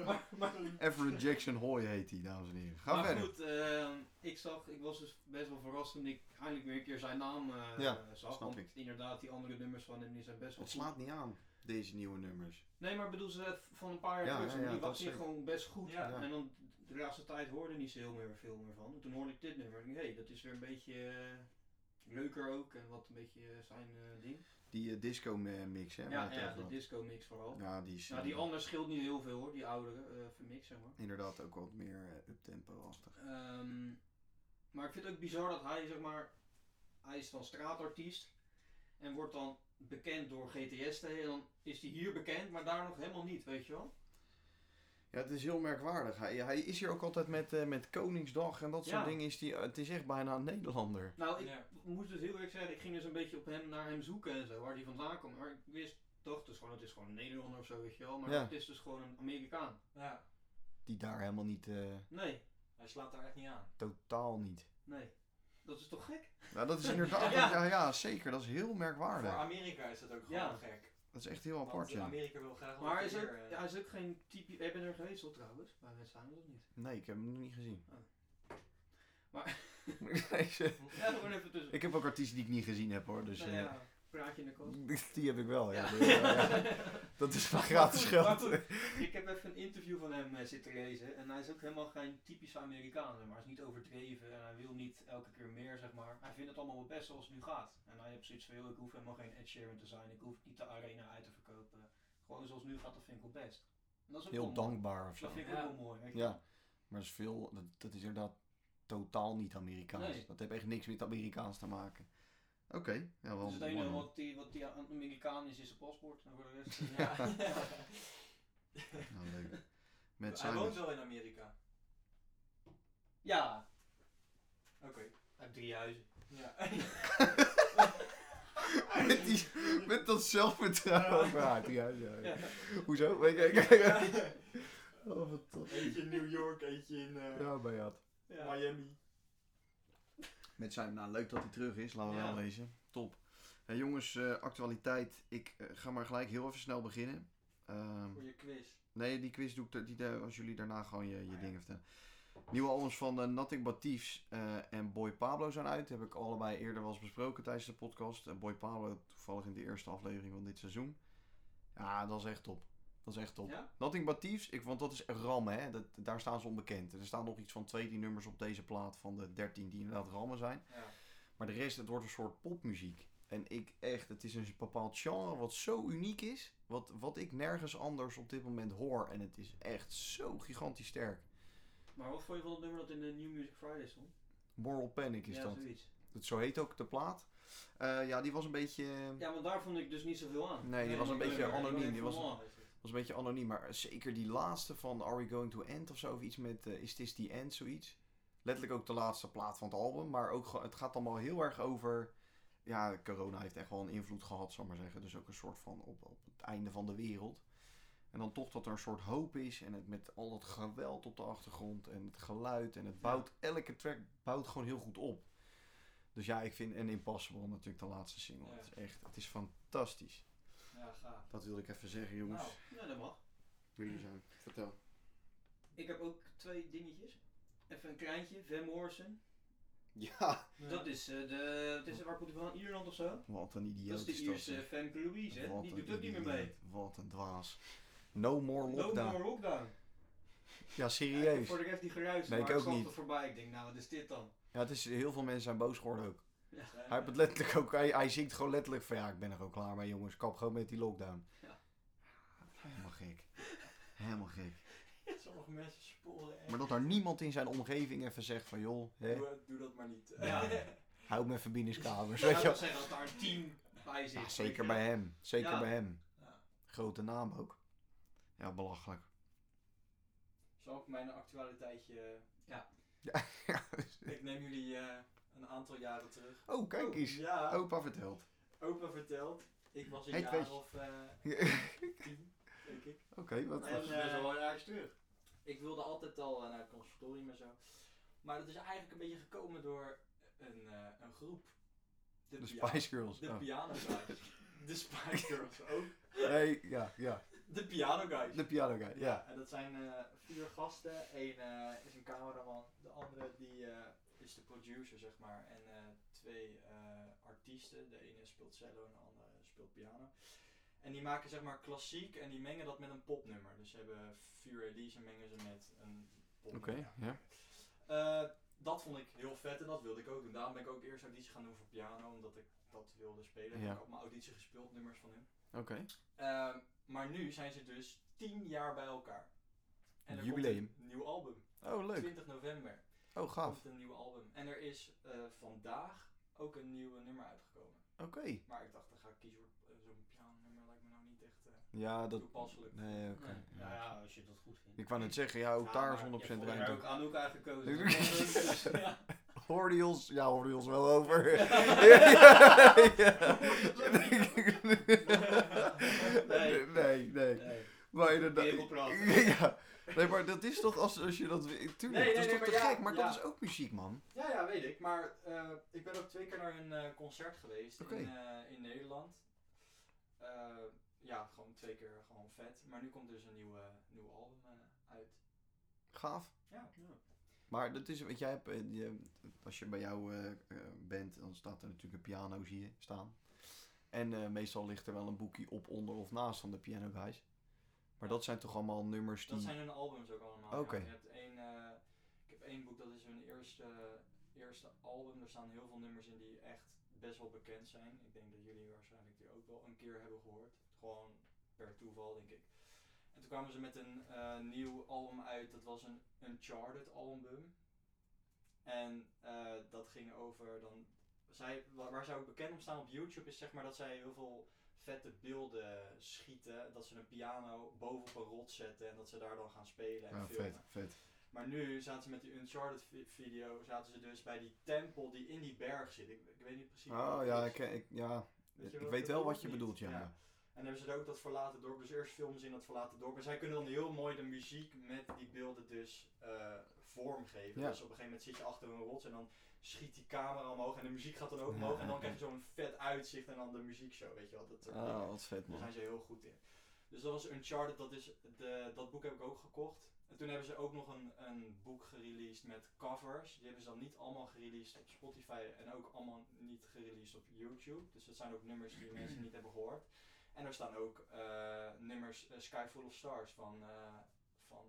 Maar, maar,
Everett Jackson Hoy heet hij, dames en heren. Ga
maar
verder.
goed, ehm, ik zag, ik was dus best wel verrast toen ik eindelijk weer een keer zijn naam eh,
Ja,
zag.
snap
want
ik.
inderdaad, die andere nummers van hem die zijn best wel
Het
goed.
slaat niet aan, deze nieuwe nummers.
Nee, maar ik bedoel, ze van een paar jaar
Ja,
terug,
ja,
die
ja, dat
was hier
zeker.
gewoon best goed.
Ja.
Ja.
En dan de laatste tijd hoorde ik niet zo heel meer veel meer van. En toen hoorde ik dit nummer. En ik denk, hey, dat is weer een beetje eh, leuker ook en wat een beetje eh, zijn eh, ding.
Die eh, disco eh, mix, hè? waar
Ja,
we het
ja
over
de
hadden.
disco mix vooral.
ja, die is
Nou,
eh,
die andere scheelt niet heel veel hoor, die oudere eh vermix zeg maar.
inderdaad ook wat meer eh, uptempo-achtig.
Ehm, maar ik vind het ook bizar dat hij, zeg maar, hij is dan straatartiest en wordt dan bekend door GTS te en dan is hij hier bekend, maar daar nog helemaal niet, weet je wel?
Ja, het is heel merkwaardig. Hij, hij is hier ook altijd met, eh, met Koningsdag en dat soort
Ja.
dingen. Is die, eh, het is echt bijna een Nederlander.
Nou, ik
Ja.
moet dus heel eerlijk zeggen, ik ging dus een beetje op hem, naar hem zoeken en zo, waar hij vandaan komt. Maar ik wist, dacht dus gewoon, het is gewoon een Nederlander of zo, weet je wel, maar
Ja.
het is dus gewoon een Amerikaan.
Ja,
Die daar helemaal niet, eh,
Nee,
hij slaat daar echt niet aan.
totaal niet.
nee. Dat is toch gek?
Nou, dat is inderdaad, ja.
Ja.
Ja, zeker. Dat is heel merkwaardig.
Voor Amerika is dat ook gewoon
Ja.
gek.
Dat is echt heel apart,
Want
ja.
Amerika wil graag
Maar hij is ook,
weer, eh,
ja, hij is ook geen typisch, jij bent er geweest toch trouwens, bij Red Simon of niet?
Nee, ik heb hem nog niet gezien.
Oh. Maar-
Nee, ze-
Ja, gewoon even tussen.
ik heb ook artiesten die ik niet gezien heb, hoor. Dus,
nou
eh,
ja, praatje in de kast.
Die heb ik wel, ja. Dus, ja, ja. Dat is van gratis
Maar
geld.
goed, Ik heb even een interview van hem eh, zitten lezen en hij is ook helemaal geen typische Amerikaan, zeg maar hij is niet overdreven en hij wil niet elke keer meer, zeg maar. Hij vindt het allemaal wel best zoals het nu gaat. En hij heeft zoiets van, joh, ik hoef helemaal geen Ed Sheeran te zijn, ik hoef niet de arena uit te verkopen. Gewoon zoals het nu gaat, dat vind ik wel best. En dat is ook wel
Heel
mooi.
dankbaar of zo.
Dat vind ik
Ja.
ook wel mooi. weet je.
Ja, maar dat is, veel, dat, dat is inderdaad totaal niet Amerikaans.
Nee.
Dat heeft echt niks met Amerikaans te maken. Oké, ja, wel.
Dus het enige
mooi.
wat die, wat die aan- Amerikaan is, is zijn paspoort. En voor de rest...
Ja.
Nou, leuk. Met
hij woont
Simons.
wel in Amerika.
Ja,
Oké.
hij heeft drie huizen.
Ja.
Met, die, met dat zelfvertrouwen. Ja. Ja, ja, ja.
Ja.
Hoezo? Weet je, kijk, kijk. Oh, wat tof.
Eentje in New York, eentje in eh,
Ja, bij jou.
Ja.
Miami.
Met zijn, nou leuk dat hij terug is, laten we
Ja.
wel lezen. Top. Hey, jongens, eh, actualiteit. Ik eh, ga maar gelijk heel even snel beginnen. Ehm,
Voor je quiz.
nee, die quiz doe ik da- die, da- als jullie daarna gewoon je, je
Ah, ja.
dingen vertellen. Nieuwe albums van eh, Nothing But Thieves eh, en Boy Pablo zijn uit. Heb ik allebei eerder wel eens besproken tijdens de podcast. Eh, Boy Pablo toevallig in de eerste aflevering van dit seizoen. Ja, dat is echt top. Dat is echt top.
Ja?
Nothing But Thieves, ik, want dat is RAM, hè? Dat, daar staan ze onbekend. Er staan nog iets van 2 nummers op deze plaat van de 13 die inderdaad rammen zijn.
Ja.
Maar de rest, het wordt een soort popmuziek. En ik echt, het is een bepaald genre wat zo uniek is. Wat, wat ik nergens anders op dit moment hoor. En het is echt zo gigantisch sterk.
Maar wat vond je van het nummer dat in de New Music Friday stond?
Moral Panic is
ja,
dat.
zoiets.
dat. Zo heet ook de plaat. Eh, ja, die was een beetje,
Ja, want daar vond ik dus niet zoveel aan.
Nee, die was een
ik
beetje
weet het, ik
anoniem,
weet
die was-
van, oh,
was een beetje anoniem. Maar zeker die laatste van Are We Going To End of zo. Of iets met eh, Is This The End, zoiets. Letterlijk ook de laatste plaat van het album. Maar ook, gewoon- het gaat allemaal heel erg over... Ja, corona heeft echt wel een invloed gehad, zal ik maar zeggen. Dus ook een soort van op, op het einde van de wereld. En dan toch dat er een soort hoop is. En het met al dat geweld op de achtergrond. En het geluid. En het bouwt, elke track bouwt gewoon heel goed op. Dus ja, ik vind En Impossible natuurlijk de laatste single.
Ja.
Het is echt, het is fantastisch.
Ja, gaaf.
Dat wilde ik even zeggen, jongens.
Nou,
Ja, dat mag.
Jullie zijn. Vertel.
Ik heb ook twee dingetjes. Even een kleintje, Van Morrison.
Ja.
Dat is eh, de, het is, waar komt hij van? Ierland of zo?
Wat een idioot
Dat is de Ierse
zeg.
Femke Louise, hè?
Wat
Die
een
doet ook niet meer
idioot.
mee.
Wat een dwaas. No more
No
lockdown.
more lockdown.
Ja,
Ja, ik heb
serieus.
voor de rest die geruis,
Nee,
maar
ik
ik
ook
zag
niet.
er voorbij. Ik denk, nou, wat is dit dan?
Ja, het is, heel veel mensen zijn boos geworden ook.
zijn
Hij, heeft
we.
het letterlijk ook hij, hij zingt gewoon letterlijk van ja, ik ben er ook klaar mee jongens. Kap gewoon met die lockdown.
Ja.
Helemaal gek. Helemaal gek.
Sommige mensen sporen echt.
Maar dat daar niemand in zijn omgeving even zegt van joh, hè,
Doe, doe dat maar niet.
Ja.
hou me even binnenskamers.
Ik
Weet je
zou
wel.
zeggen dat daar een team bij zit.
Ja,
weet
zeker
je.
bij hem. Zeker
Ja.
bij hem.
Ja.
Grote naam ook. Ja, belachelijk.
Zal ik mijn actualiteitje...
Ja.
Ja, ja.
Ik neem jullie eh, een aantal jaren terug.
Oh, kijk eens.
Ja,
Opa vertelt.
opa vertelt. Ik was een
Hey,
jaar
Tweetje.
of eh, tien, denk ik.
Oké, wat
Nee.
En,
Dat is best
eh,
wel een jaartje terug. Ik wilde altijd al eh, naar het conservatorium en zo. Maar dat is eigenlijk een beetje gekomen door een, eh, een groep. De,
De
pia-
Spice Girls.
De
oh.
Piano Guys. de Spice Girls ook.
Nee, ja, ja.
De Piano Guys.
De piano guy, ja.
En dat zijn eh, vier gasten. Eén eh, is een cameraman. De andere die, eh, is de producer, zeg maar. En eh, twee eh, artiesten. De ene speelt cello en de andere speelt piano. En die maken zeg maar klassiek en die mengen dat met een popnummer. Dus ze hebben vier Elise en mengen ze met een popnummer.
Oké, ja.
Eh, dat vond ik heel vet en dat wilde ik ook doen. Daarom ben ik ook eerst auditie gaan doen voor piano, omdat ik dat wilde spelen.
Ja.
Ik had mijn auditie gespeeld, nummers van hem.
Oké.
Ehm, maar nu zijn ze dus tien jaar bij elkaar. En er
Jubileum.
komt een nieuw album.
Oh, leuk.
20 november
Oh, gaaf.
komt een nieuw album. En er is eh, vandaag ook een nieuw nummer uitgekomen.
Oké.
Maar ik dacht, dan ga ik kiezen voor eh, zo'n pianonummer. Lijkt me nou niet echt eh,
Ja, dat...
toepasselijk.
Nee, oké.
Nee,
ja.
Nou ja, als je dat goed vindt.
Ik wou net zeggen, ja, ook
Ja,
daar
maar je
is 100%
hebt
Ik heb
ruimte.
ook Anouk uitgekozen.
Dus,
Dus,
ja.
Hoorde je ons? Ja, hoorde je ons wel over. Ja, ja. Nee,
Nee.
nee, nee.
nee.
Maar inderdaad.
Kerelpraat.
Ja. Nee, maar dat is toch als, als je dat. Tuurlijk,
Nee, nee,
dat is
nee,
toch te
maar ja,
gek, maar
ja.
dat is ook muziek, man.
ja, ja, weet ik. Maar eh, ik ben ook twee keer naar een eh, concert geweest
Oké.
in, eh, in Nederland. Eh, ja, gewoon twee keer gewoon vet. Maar nu komt dus een nieuw, eh, nieuw album eh, uit.
Gaaf.
Ja.
Maar dat is, want jij hebt, eh, je- als je bij jou eh, eh, bent, dan staat er natuurlijk een piano, zie je, staan. En eh, meestal ligt er wel een boekje op, onder of naast van de piano guys. Maar dat zijn toch allemaal nummers die...
Dat zijn hun albums ook allemaal. ja.
Oké.
Je hebt één, eh, ik heb één boek, dat is hun eerste, eerste album. Er staan heel veel nummers in die echt best wel bekend zijn. Ik denk dat jullie waarschijnlijk die ook wel een keer hebben gehoord. Gewoon per toeval, denk ik. En toen kwamen ze met een eh, nieuw album uit. Dat was een Uncharted album. En eh, dat ging over dan... Zij, wa- waar zij ook bekend om staan op YouTube is zeg maar dat zij heel veel vette beelden schieten. Dat ze een piano bovenop een rot zetten en dat ze daar dan gaan spelen en
Ja,
filmen.
Ah, vet, vet.
Maar nu zaten ze met die Uncharted vi- video, zaten ze dus bij die tempel die in die berg zit. Ik, ik weet niet precies
Oh
het
ja,
is.
ik, ik, ja.
Weet je
ik
wat
weet
ik bedoel
wel wat
of
je
niet?
bedoelt, ja.
Ja.
ja.
En dan hebben ze er ook dat verlaten dorp. Dus eerst filmen ze in dat verlaten dorp. En zij kunnen dan heel mooi de muziek met die beelden dus eh, vormgeven.
Ja.
Dus op een gegeven moment zit je achter een rots en dan schiet die camera omhoog. En de muziek gaat dan ook
Ja,
omhoog. En
ja,
dan
ja.
krijg je zo'n vet uitzicht en dan de muziekshow, weet je wel. Dat eh, soort dingen.
Oh, wat vet,
Daar
man.
zijn ze heel goed in. Dus dat was Uncharted, dat, is de, dat boek heb ik ook gekocht. En toen hebben ze ook nog een, een boek gereleased met covers. Die hebben ze dan niet allemaal gereleased op Spotify en ook allemaal niet gereleased op YouTube. Dus dat zijn ook nummers die mensen niet hebben gehoord. En er staan ook eh, nummers eh, Sky Full of Stars van, eh, van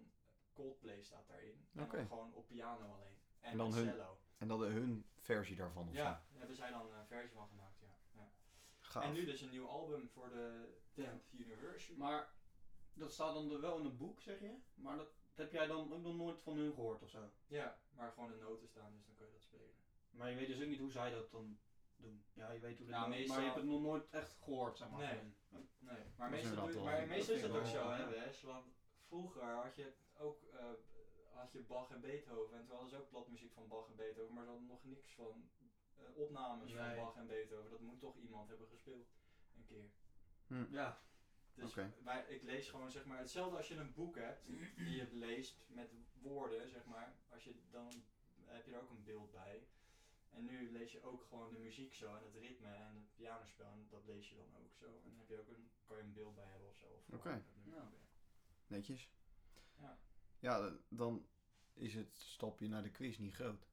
Coldplay staat daarin. En
Oké.
dan gewoon op piano alleen. En,
En dan
een
hun-
cello.
En dat hun versie daarvan of zo.
Ja, daar hebben zij dan een versie van gemaakt. Ja. Ja.
Gaaf.
En nu dus een nieuw album voor de 10th University.
Maar dat staat dan er wel in een boek, zeg je? Maar dat, heb jij dan ook nog nooit van hun gehoord of zo?
Ja, maar gewoon de noten staan, dus dan kun je dat spelen.
Maar je weet dus ook niet hoe zij dat dan doen. Ja, je weet hoe dat
Nou,
doen,
meestal-
maar je hebt het nog nooit echt gehoord, zeg maar.
Nee.
van hun.
Nee, maar
Dat is
meestal,
inderdaad
doe je-
wel-
maar meestal
dat
is het
vind
ook
ik
zo,
wel,
hè,
ja.
Wes? Want vroeger had je ook eh, had je Bach en Beethoven. En toen hadden ze ook platmuziek van Bach en Beethoven, maar ze hadden nog niks van eh, opnames van
Nee.
Bach en Beethoven. Dat moet toch iemand hebben gespeeld, een keer.
Ja,
Dus
Oké.
wij, ik lees gewoon zeg maar hetzelfde als je een boek hebt, die je leest met woorden, zeg maar. Als je, dan heb je er ook een beeld bij. En nu lees je ook gewoon de muziek zo en het ritme en het pianospel en dat lees je dan ook zo. En dan heb je ook een, kan je een beeld bij hebben of zo. Of
Oké.
Ja.
Netjes.
Ja.
Ja, dan is het stapje naar de quiz niet groot.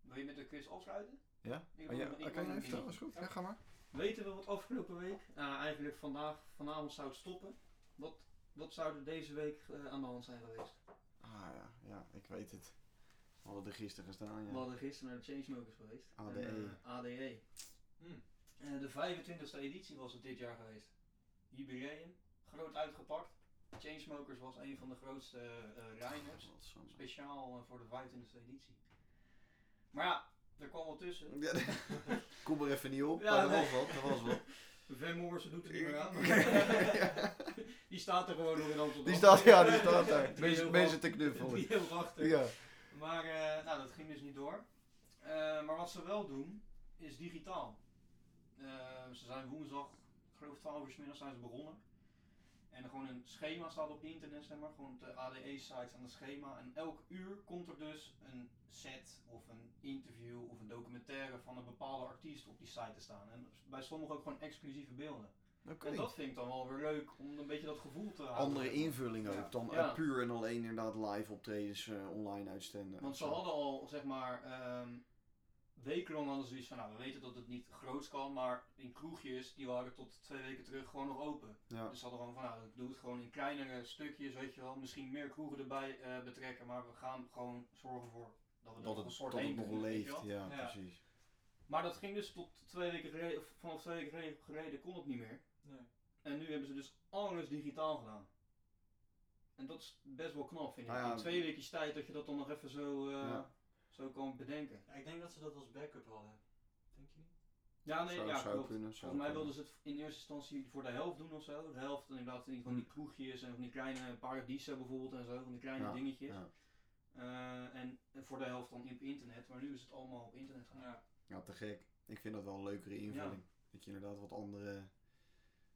wil je met de quiz afsluiten?
Ja?
Ik
Oh,
wil-
ja,
ik
oké,
wil
nee,
nog
vertel,
niet.
is goed. Ja,
Ja.
ga maar.
Weten we wat afgelopen week, nou eigenlijk vandaag, vanavond zou het stoppen. Wat, wat zou er deze week eh, aan de hand zijn geweest?
Ah ja, ja, ik weet het. We hadden er gisteren gestaan,
We
ja. E.
hadden gisteren naar de Chainsmokers geweest. En,
ADE.
eh, ADE.
Hmm.
Eh, de 25e editie was het dit jaar geweest. Jubileum, groot uitgepakt. Chainsmokers was een van de grootste eh line-ups.
Godsamme.
Speciaal eh, voor de 25e editie. Maar ja, er kwam wel tussen.
Ja, Kom er even niet op,
Ja,
maar dat
nee.
was wat, dat was wat.
Van Morrison doet het niet meer aan.
Ja.
die staat er gewoon nog in Amsterdam.
Die staat, ja, die staat daar.
Die
Mensen,
heel
mensen te knuffelen.
Die heel achter.
Ja.
Maar eh, nou, dat ging dus niet door. Eh, maar wat ze wel doen, is digitaal. Eh, ze zijn woensdag, ik geloof 12 uur 's middags zijn ze begonnen. En gewoon een schema staat op internet, zeg maar. Gewoon op de ADE-site aan het schema. En elk uur komt er dus een set of een interview of een documentaire van een bepaalde artiest op die site te staan. En bij sommigen ook gewoon exclusieve beelden.
Oké.
En dat vind ik dan wel weer leuk, om een beetje dat gevoel te houden.
Andere invulling
Ja.
ook dan eh,
Ja.
puur en alleen inderdaad live optredens eh, online uitzenden.
Want ze hadden al, zeg maar, ehm, wekenlang hadden ze zoiets van, nou, we weten dat het niet groots kan, maar in kroegjes, die waren tot twee weken terug gewoon nog open.
Ja.
Dus ze hadden gewoon van, nou, ik doe het gewoon in kleinere stukjes, weet je wel, misschien meer kroegen erbij eh, betrekken, maar we gaan gewoon zorgen voor Dat we
Dat
nog een
het,
soort
dat het
heen
nog
kunnen, weet je
leeft,
wel.
ja,
Ja.
precies.
Maar dat ging dus tot twee weken geleden, of vanaf twee weken geleden- geleden kon het niet meer.
Nee.
En nu hebben ze dus alles digitaal gedaan. En dat is best wel knap, vind ik.
Nou ja,
In twee weken tijd dat je dat dan nog even zo, eh,
Ja.
zo kan bedenken.
Ja, ik denk dat ze dat als backup hadden. Denk je niet?
Ja, nee,
zou
ja,
zou
klopt.
kunnen. Zou
Volgens mij
kunnen.
wilden ze het in eerste instantie voor de helft doen of zo. De helft inderdaad in van die kroegjes en van die kleine paradiezen bijvoorbeeld en zo, van die kleine
Ja,
dingetjes.
ja.
Eh, en voor de helft dan op internet, maar nu is het allemaal op internet gaan.
Ja.
Ja, te gek. Ik vind dat wel een leukere invulling. Dat je inderdaad wat andere,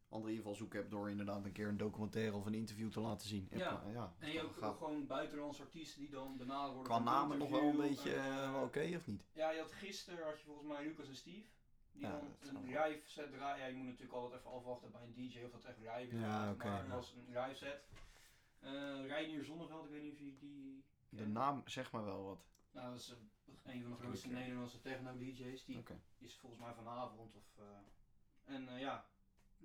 andere invalshoeken hebt door inderdaad een keer een documentaire of een interview te laten zien. In
Ja.
pla- ja.
En je hebt ook
Gaaf.
gewoon buitenlandse artiesten die dan benaderd worden.
Qua
voor een
namen nog wel een
interview.
beetje
Eh,
eh, wel oké, of niet?
Ja, je had gisteren had je volgens mij Lucas en Steve. Die
Ja,
dan
dat is
een
allemaal-
live set draaien. Ja, je moet natuurlijk altijd even afwachten bij een DJ of dat echt live is.
Ja, oké.
Maar het was een live set. Eh Reinier Zonneveld, ik weet niet of je die...
De
kent.
naam zeg maar wel wat.
Nou, dat is een een van de grootste
Oké.
Nederlandse techno-dj's. Die
Oké.
is volgens mij vanavond of... eh, en eh, ja,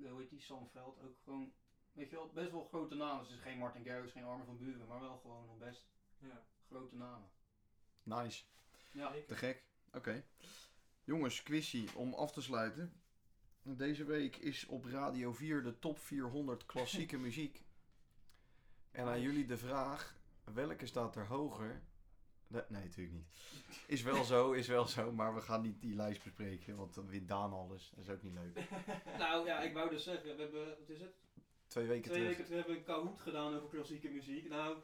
eh, hoe heet die? Sam Veld ook gewoon... Weet je wel, best wel grote namen. Dus het is geen Martin Garrix, geen Armin van Buren, maar wel gewoon nog best
Ja.
grote namen.
Nice.
Ja,
Te gek. Oké. Jongens, quizje om af te sluiten. Deze week is op Radio 4 de top 400 klassieke muziek. En aan jullie de vraag, welke staat er hoger? Nee, nee, natuurlijk niet. Is wel zo, is wel zo, maar we gaan niet die lijst bespreken, want dan wint Daan alles. Dat is ook niet leuk.
nou ja, ik wou dus zeggen, we hebben, wat is het?
Twee weken
Twee
terug.
weken terug hebben we een Kahoot gedaan over klassieke muziek. Nou,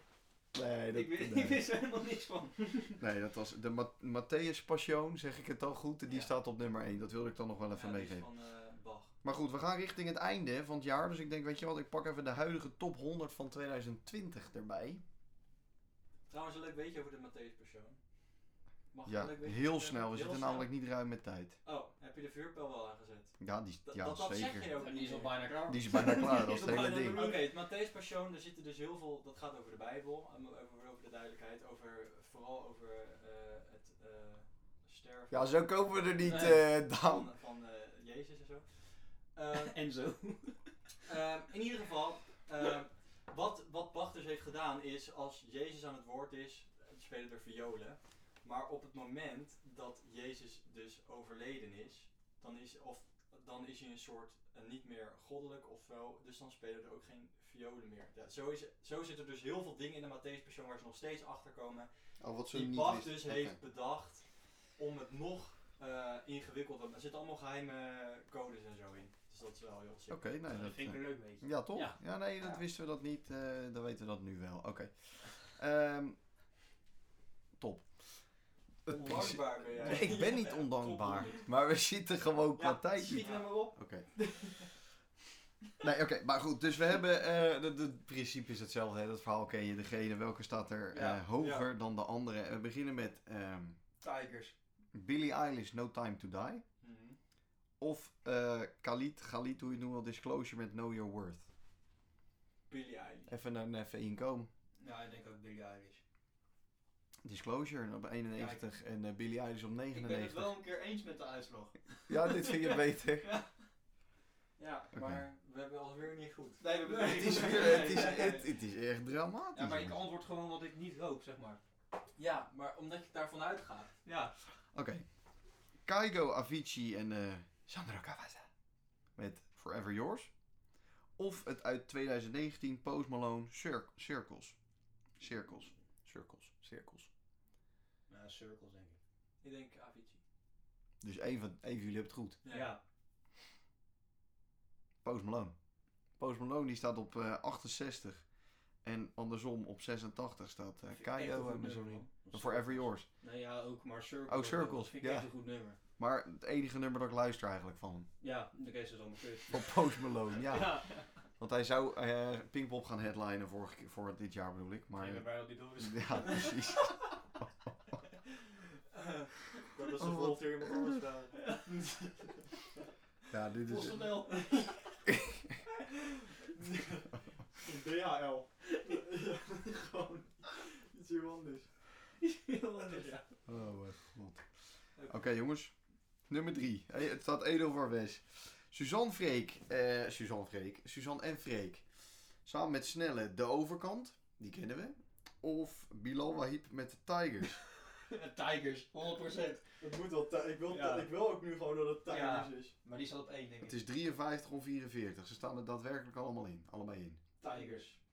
Nee, dat,
ik, wist,
nee.
ik wist er helemaal niks van.
Nee, dat was de Ma Matthäus Passion, zeg ik het al goed. Die
Ja.
staat op nummer 1. Dat wilde ik dan nog wel even
Ja, die is
meegeven.
Van eh, Bach.
Maar goed, we gaan richting het einde van het jaar. Dus ik denk, weet je wat, ik pak even de huidige top 100 van 2020 erbij.
Trouwens, een leuk weetje over de Matthäus persoon. Mag ik
ja,
een leuk weetje
heel
vertellen?
snel.
eh, Heel
We zitten
snel.
namelijk niet ruim met tijd.
Oh, heb je de vuurpijl wel aangezet?
Ja, die,
Dat-
ja
dat- dat
zeker.
zeg je ook
Die is
niet
al
meer.
bijna klaar.
Die is bijna klaar,
Die
dat
is
is
al
het hele
bijna
ding.
klaar.
Oké, het Matthäus Passion, daar zitten dus heel veel, dat gaat over de Bijbel, en over, over de duidelijkheid, over, vooral over eh, het eh, sterven
Ja, zo komen we er niet,
Nee.
eh
van,
Daan.
van eh, Jezus en zo. Ehm,
En zo.
ehm, in ieder geval, ehm, wat, wat Bach dus heeft gedaan is, als Jezus aan het woord is, eh, spelen er violen, maar op het moment dat Jezus dus overleden is, dan is, of, dan is hij een soort eh, niet meer goddelijk of zo, dus dan spelen er ook geen violen meer. Ja, zo, is, zo zitten er dus heel veel dingen in de Matthäus persoon waar ze nog steeds achter komen
Oh, wat
die Bach dus heeft bedacht om het nog eh ingewikkelder... Er zitten allemaal geheime eh, codes en zo in. Dus dat is wel heel sick.
Oké, nee,
Dat
dat...
vind
eh,
ik een leuk beetje.
Ja, toch? Ja,
Ja.
nee, dat
Ja.
wisten we dat niet. eh, dan weten we dat nu wel. Oké. Ehm, top. Het piece-
Ondankbaar ben jij.
Nee, ik ben niet
Ja,
ondankbaar.
top, honderd.
Maar we zitten gewoon qua
Ja,
tijd
schiet
niet.
hem maar op.
Oké. Nee, oké, maar goed. Dus we hebben. eh de, de- het principe is hetzelfde. Hè? Dat verhaal ken je. Degene welke staat er eh,
Ja,
hoger dan de andere. We beginnen met ehm
Tigers.
Billie Eilish, No Time to Die.
Mhm.
Of eh Khalid, Khalid, hoe je het noemt, wel, Disclosure met Know Your Worth.
Billie Eilish.
Even een even inkomen.
Ja, ik denk ook Billie Eilish.
Disclosure op 91 en eh, Billie Eilish op
Ik ben het
99.
wel een keer eens met de uitslag.
Ja, dit vind je beter.
Ja,
Oké.
maar we hebben alweer niet goed.
Nee, we hebben-
het, is weer, het, is, het, het is echt dramatisch.
Ja, maar ik
jongens.
antwoord gewoon wat ik niet hoop, zeg maar.
Ja, maar omdat je daarvan uitgaat.
Ja.
Oké. Kaigo, Avicii en eh Sandro Cavazza. Met Forever Yours. Of het uit 2019 Post Malone Cir- Circles. Circles. Circles. Circles.
Nou, circles denk ik.
Ik denk Avicii.
Dus één van, één van jullie hebt het goed.
Ja.
Post Malone. Post Malone die staat op eh, 68. En andersom op 86 staat eh, Kaigo en Missouri. Forever Yours.
Nee, ja, ook, maar circles.
Oh, Circles,
Vind ik
ja.
echt een goed nummer.
Maar het enige nummer dat ik luister eigenlijk van hem.
Ja, de rest is allemaal kut.
Van Post Malone, ja.
Ja.
Want hij zou eh Pinkpop gaan headlinen vorige keer- voor dit jaar bedoel ik. Maar
Ik ben blij dat die door is.
Ja, precies.
dat is de
Oh, wat
volgende keer iemand anders vragen.
Ja, dit is...
PostNL.
DHL. Gewoon iets heel anders.
Ja.
Oh, mijn god. Oké, jongens. Nummer drie. Hey, het staat Edo voor Wes. Suzanne Freek. eh Suzanne Freek. Suzanne en Freek. Samen met Snelle De Overkant. Die kennen we. Of Bilal Wahib met de Tigers.
Tigers, 100%.
Het moet wel ti- ik, wil
Ja.
ik wil ook nu gewoon dat het Tigers
Ja.
is.
Maar die staat op één, denk ik.
Het is 53 of 44. Ze staan er daadwerkelijk allemaal in. Allebei in.
Tigers.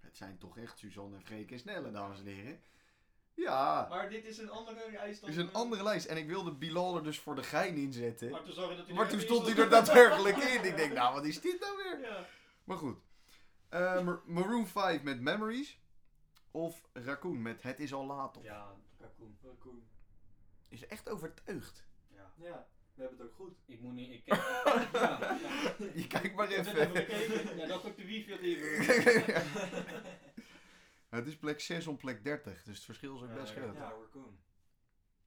Het zijn toch echt Suzanne en Freek en Snelle, dames en heren. Ja,
Maar dit is een andere reis
het
dan... eh,
is een andere lijst. En ik wilde Bilal er dus voor de gein inzetten.
Maar toen, zag je dat hij
Maar
er
toen
in
stond hij er daadwerkelijk in. Ik denk, nou, wat is dit nou weer?
Ja.
Maar goed. Eh, Mar- Maroon 5 met Memories. Of Raccoon met Het is al laat. op.
Ja, Raccoon.
Raccoon.
Is echt overtuigd.
Ja.
Ja, we hebben het ook goed.
Ik moet niet... Ik ken... ja, ja.
Je kijkt maar
Ik heb net even
even.
gekeken. Ja, dat is ook de wifi dat hier.
Het is plek 6 om plek 30. Dus het verschil is ook
Ja,
best
Eh, ja.
groot.
Ja, Raccoon.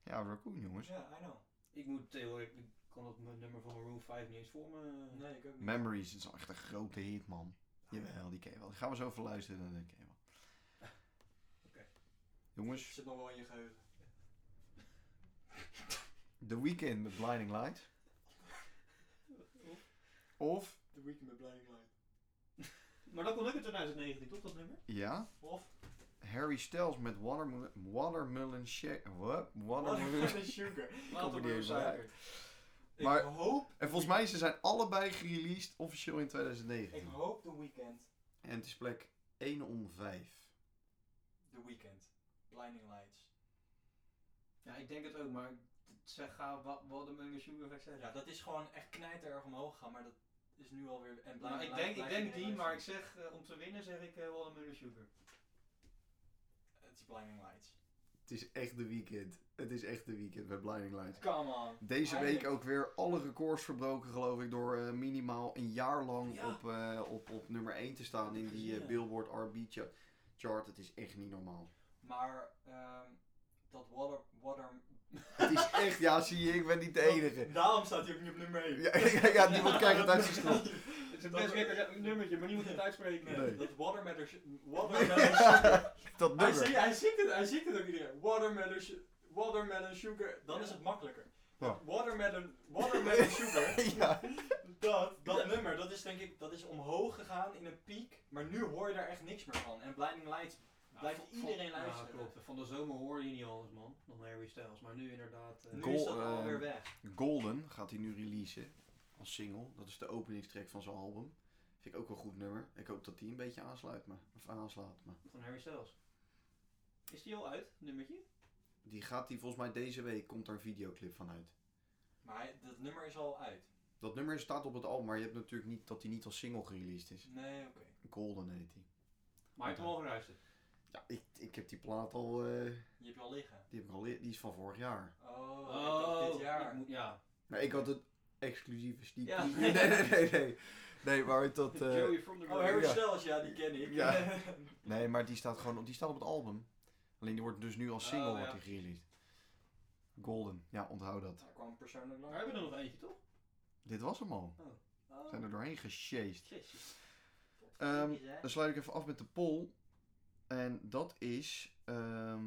Ja, Raccoon jongens.
Ja, I know.
Ik moet tegenwoordig... Ik kan dat m- nummer van Maroon 5 niet eens voor me...
Nee, ik ook niet.
Memories is echt een grote hit, man. Jawel, die ken je wel. Die gaan we zo even luisteren en dan ken je wel.
Oké.
Het
Jongens,
zit nog wel in je geheugen.
The Weeknd met Blinding Lights. Of,
The Weeknd met Blinding Light.
Maar dat kon ik in 2019, toch, dat nummer?
ja,
Of?
Harry Styles met Watermelon, watermelon Shake. What? Watermelon.
Watermelon Sugar.
kom er niet eens
Watermelon
uit.
Suiker.
Ik
Maar-
hoop,
En volgens mij ze zijn allebei gereleased officieel in
ik
2019.
hoop The Weeknd.
En het is plek 1 om 5.
The Weeknd. Blinding Lights.
Ja, ik denk het ook, maar... het- Zeg, ga wa- Watermelon Sugar, ga ik zeggen.
Ja, dat is gewoon echt knijtererg omhoog gegaan, maar dat is nu alweer... En
Maar
Blinding
Nou,
Lights
ik denk, ik denk
blijft
die,
iedereen
maar ik
luisteren.
zeg eh, om te winnen zeg ik eh Watermelon Sugar.
Het is Blinding Lights.
Het is echt de weekend. Het is echt de weekend bij Blinding Lights.
Come on.
Deze week
Eindelijk.
ook weer alle records verbroken, geloof ik, door eh, minimaal een jaar lang
Ja.
op, eh, op, op nummer 1 te staan in die eh, Billboard RB cha- chart. Het is echt niet normaal.
Maar ehm, dat water... water
Het is echt, ja, zie je, ik ben niet de enige.
Daarom staat hij ook niet op nummer 1.
Ja, ja, ja, niemand kijkt het uit zijn stoel.
Het is een best lekker nummertje, maar niemand moet het uitspreken.
Nee,
Nee.
dat watermelon watermelon sugar.
Dat
hij,
nummer.
zingt, hij, zingt het, hij zingt het ook iedereen. Watermelon, su- watermelon sugar, dan is het makkelijker.
Ja.
Watermelon, watermelon sugar,
Ja,
dat, dat nummer, dat is denk ik, dat is omhoog gegaan in een piek, maar nu hoor je daar echt niks meer van. En Blinding Lights, Blijft
van-
iedereen
van- Nou, ja,
luisteren.
klopt. Van de zomer hoor je niet alles, man. Dan Harry Styles. Maar nu inderdaad... eh,
nu
Goal,
is dat
ehm,
alweer weg.
Golden gaat hij nu releasen als single. Dat is de openingstrack van zijn album. Vind ik ook wel een goed nummer. Ik hoop dat die een beetje aansluit, maar, of aanslaat. Maar.
Van Harry Styles. Is die al uit, nummertje?
Die gaat hij volgens mij deze week, komt er een videoclip van uit.
Maar hij- dat nummer is al uit.
Dat nummer staat op het album, maar je hebt natuurlijk niet dat hij niet als single gereleased is.
Nee, oké.
Golden heet hij.
Maar ik heb al geluisterd.
Ja, ik, ik heb die plaat al, eh,
Die heb je al liggen.
die heb ik al, li- die is van vorig jaar.
Oh, ik dacht dit
ik
jaar.
moet- ja.
Maar ik had het exclusieve sneak
Ja.
preview. Nee, nee, nee, nee. Nee, maar het dat, eh,
Joey from the
Oh,
Road.
Harry
Ja.
Styles, ja, die ken ik.
Ja. nee, maar die staat gewoon, op- die staat op het album. Alleen die wordt dus nu als single
Oh, ja.
wordt die gereleased. Golden, ja, onthoud dat.
Daar kwam persoonlijk
We
lang.
hebben er nog eentje, toch?
Dit was hem al. We
Oh.
zijn er doorheen gesjeest.
Jezus.
Ehm,
Niet, hè?
Dan sluit ik even af met de poll. En dat is. ehm,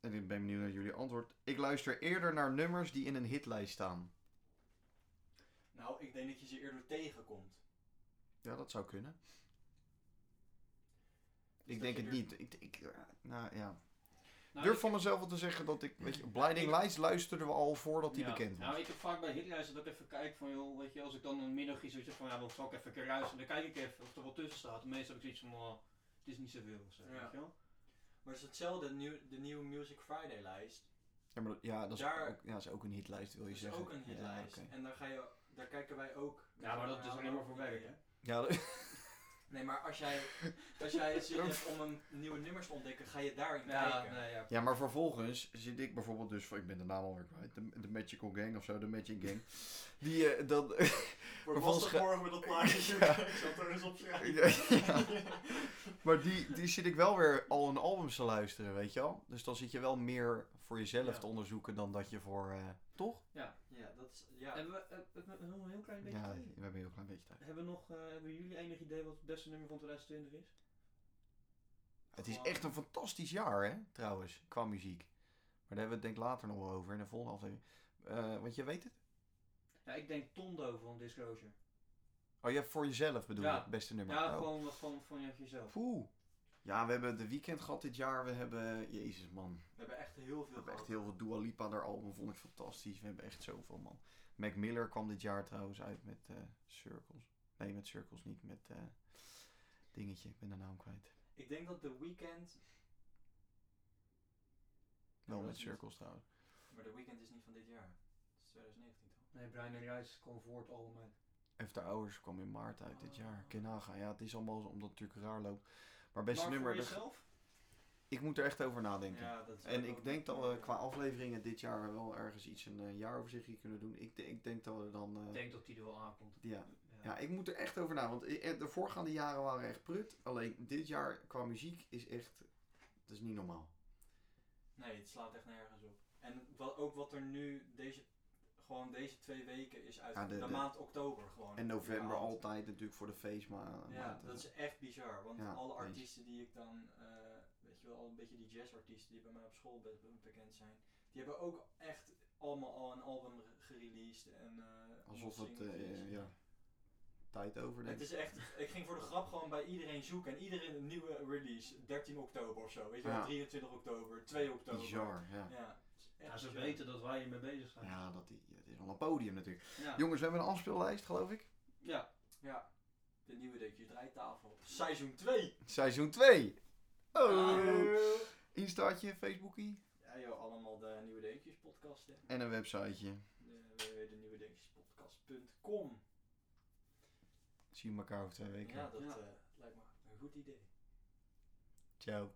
en ik ben benieuwd naar jullie antwoord. Ik luister eerder naar nummers die in een hitlijst staan.
Nou, ik denk dat je ze eerder tegenkomt.
Ja, dat zou kunnen.
Dus
ik
dat
denk
je
het
er-
niet. Ik, ik, eh, nou ja.
Nou,
Durf
ik-
van mezelf wel te zeggen dat ik. Weet je, Blinding Lights luisterden we al voordat die
Ja.
bekend was.
Nou, ik heb vaak bij hitlijsten dat ik even kijk van, joh, weet je, als ik dan een middagje zoiets heb van, ja, dan zal ik even een keer luisteren. Dan kijk ik even of er wat tussen staat. Meestal heb ik zoiets van, oh, het is niet zoveel of zo,
Ja.
weet je wel.
Maar het is hetzelfde, de nieuw- de nieuwe Music Friday lijst.
Ja, maar dat- ja, dat is
Daar-
ook, ja, dat is ook een hitlijst, wil je
Dat is
zeggen.
ook een hitlijst.
Ja, oké.
En daar, ga je, daar kijken wij ook.
Ja, maar dat is alleen maar voor werk, hè?
Ja, dat-
Nee, maar als jij, als jij zin hebt om een nieuwe nummers te ontdekken, ga je daarin kijken.
nee, ja.
Ja, maar vervolgens zit ik bijvoorbeeld dus, ik ben de naam alweer kwijt, de, de Magical Gang of zo, de Magic Gang. Die eh, dan,
Wordt
Vervolgens
lastig
ga-
morgen met dat plaatje.
Ja.
Ik zal het er eens op schrijven.
Ja, ja. Maar die, die zit ik wel weer al een albums te luisteren, weet je wel? Dus dan zit je wel meer voor jezelf
Ja.
te onderzoeken dan dat je voor... eh, toch?
Ja, dat is... Ja.
Hebben we hebben we- hebben we nog een heel klein beetje
Ja,
tijd?
we hebben heel klein beetje tijd.
Hebben, we nog, eh, hebben jullie enig idee wat het beste nummer van 2020 is?
Het is echt een fantastisch jaar, hè? Trouwens, qua muziek. Maar daar hebben we het denk ik later nog wel over in de volgende aflevering. Eh, want je weet het?
Ja, ik denk Tondo van Disclosure.
Oh, je hebt voor jezelf bedoeld
Ja.
het beste nummer.
Ja,
oh.
gewoon wat van, van jezelf.
Poeh. Ja, we hebben de weekend gehad dit jaar. We hebben, jezus man,
We hebben echt heel
we
veel
hebben echt
gehad.
heel veel Dua Lipa, haar album vond ik fantastisch. We hebben echt zoveel man. Mac Miller kwam dit jaar trouwens uit met eh, Circles. Nee, met Circles niet, met eh, dingetje. Ik ben de naam kwijt.
Ik denk dat The Weeknd...
Wel
dat
met
is niet-
Circles trouwens.
Maar The Weeknd is niet van dit jaar. Het is 2019 toch?
Nee, Brian en Rice kwam voor het album uit.
After Hours kwam in maart uit dit jaar.
Ah.
Kenaga, ja, het is allemaal zo- omdat het natuurlijk raar loopt. Maar beste
maar
nummer,
voor
de-
jezelf?
ik moet er echt over nadenken.
Ja, dat is
En
ook-
ik denk dat we qua afleveringen dit jaar wel ergens iets een eh, jaaroverzichtje kunnen doen. Ik, de- ik denk dat we dan. eh,
Ik denk dat die er wel aankomt.
ja. ja, ik moet er echt over na. Want i- eh, de voorgaande jaren waren echt prut. Alleen dit jaar qua muziek is echt. Dat is niet normaal.
Nee, het slaat echt nergens op. En wat, ook wat er nu deze, gewoon deze twee weken is uit.
Ja, de-
de,
de-
maand oktober gewoon.
En november
überhaupt.
altijd natuurlijk voor de feest. Maar,
Ja,
maar eh,
dat is echt bizar. Want
Ja,
alle
eens.
artiesten die ik dan, eh, weet je wel, al een beetje die jazzartiesten die bij mij op school best be- bekend zijn, die hebben ook echt allemaal al een album re- gereleased. En, eh,
alsof
allemaal
het. eh,
singeltjes.
eh, ja, tijd over denk
Het
ik.
is echt, ik ging voor de grap gewoon bij iedereen zoeken en iedereen een nieuwe release. 13 oktober of zo, weet je wel,
Ja.
23 oktober, 2 oktober.
Bizar, ja.
Ja, het is echt
Ja, ze
bizar.
weten dat wij ermee bezig zijn.
Ja, dat i- het is wel een podium natuurlijk.
Ja.
Jongens, we hebben een afspeellijst, geloof ik.
Ja.
Ja, de nieuwe Deukje Draaitafel. Seizoen 2.
Seizoen 2. Oh.
Ah.
Instaatje, Facebookie.
Ja joh, allemaal de Nieuwe Deukjes podcast hè.
En een websiteje.
De, www.denieuwedeukjespodcast.com
Zien we elkaar over twee weken.
Ja, dat
Ja.
eh, lijkt me een goed idee.
Ciao.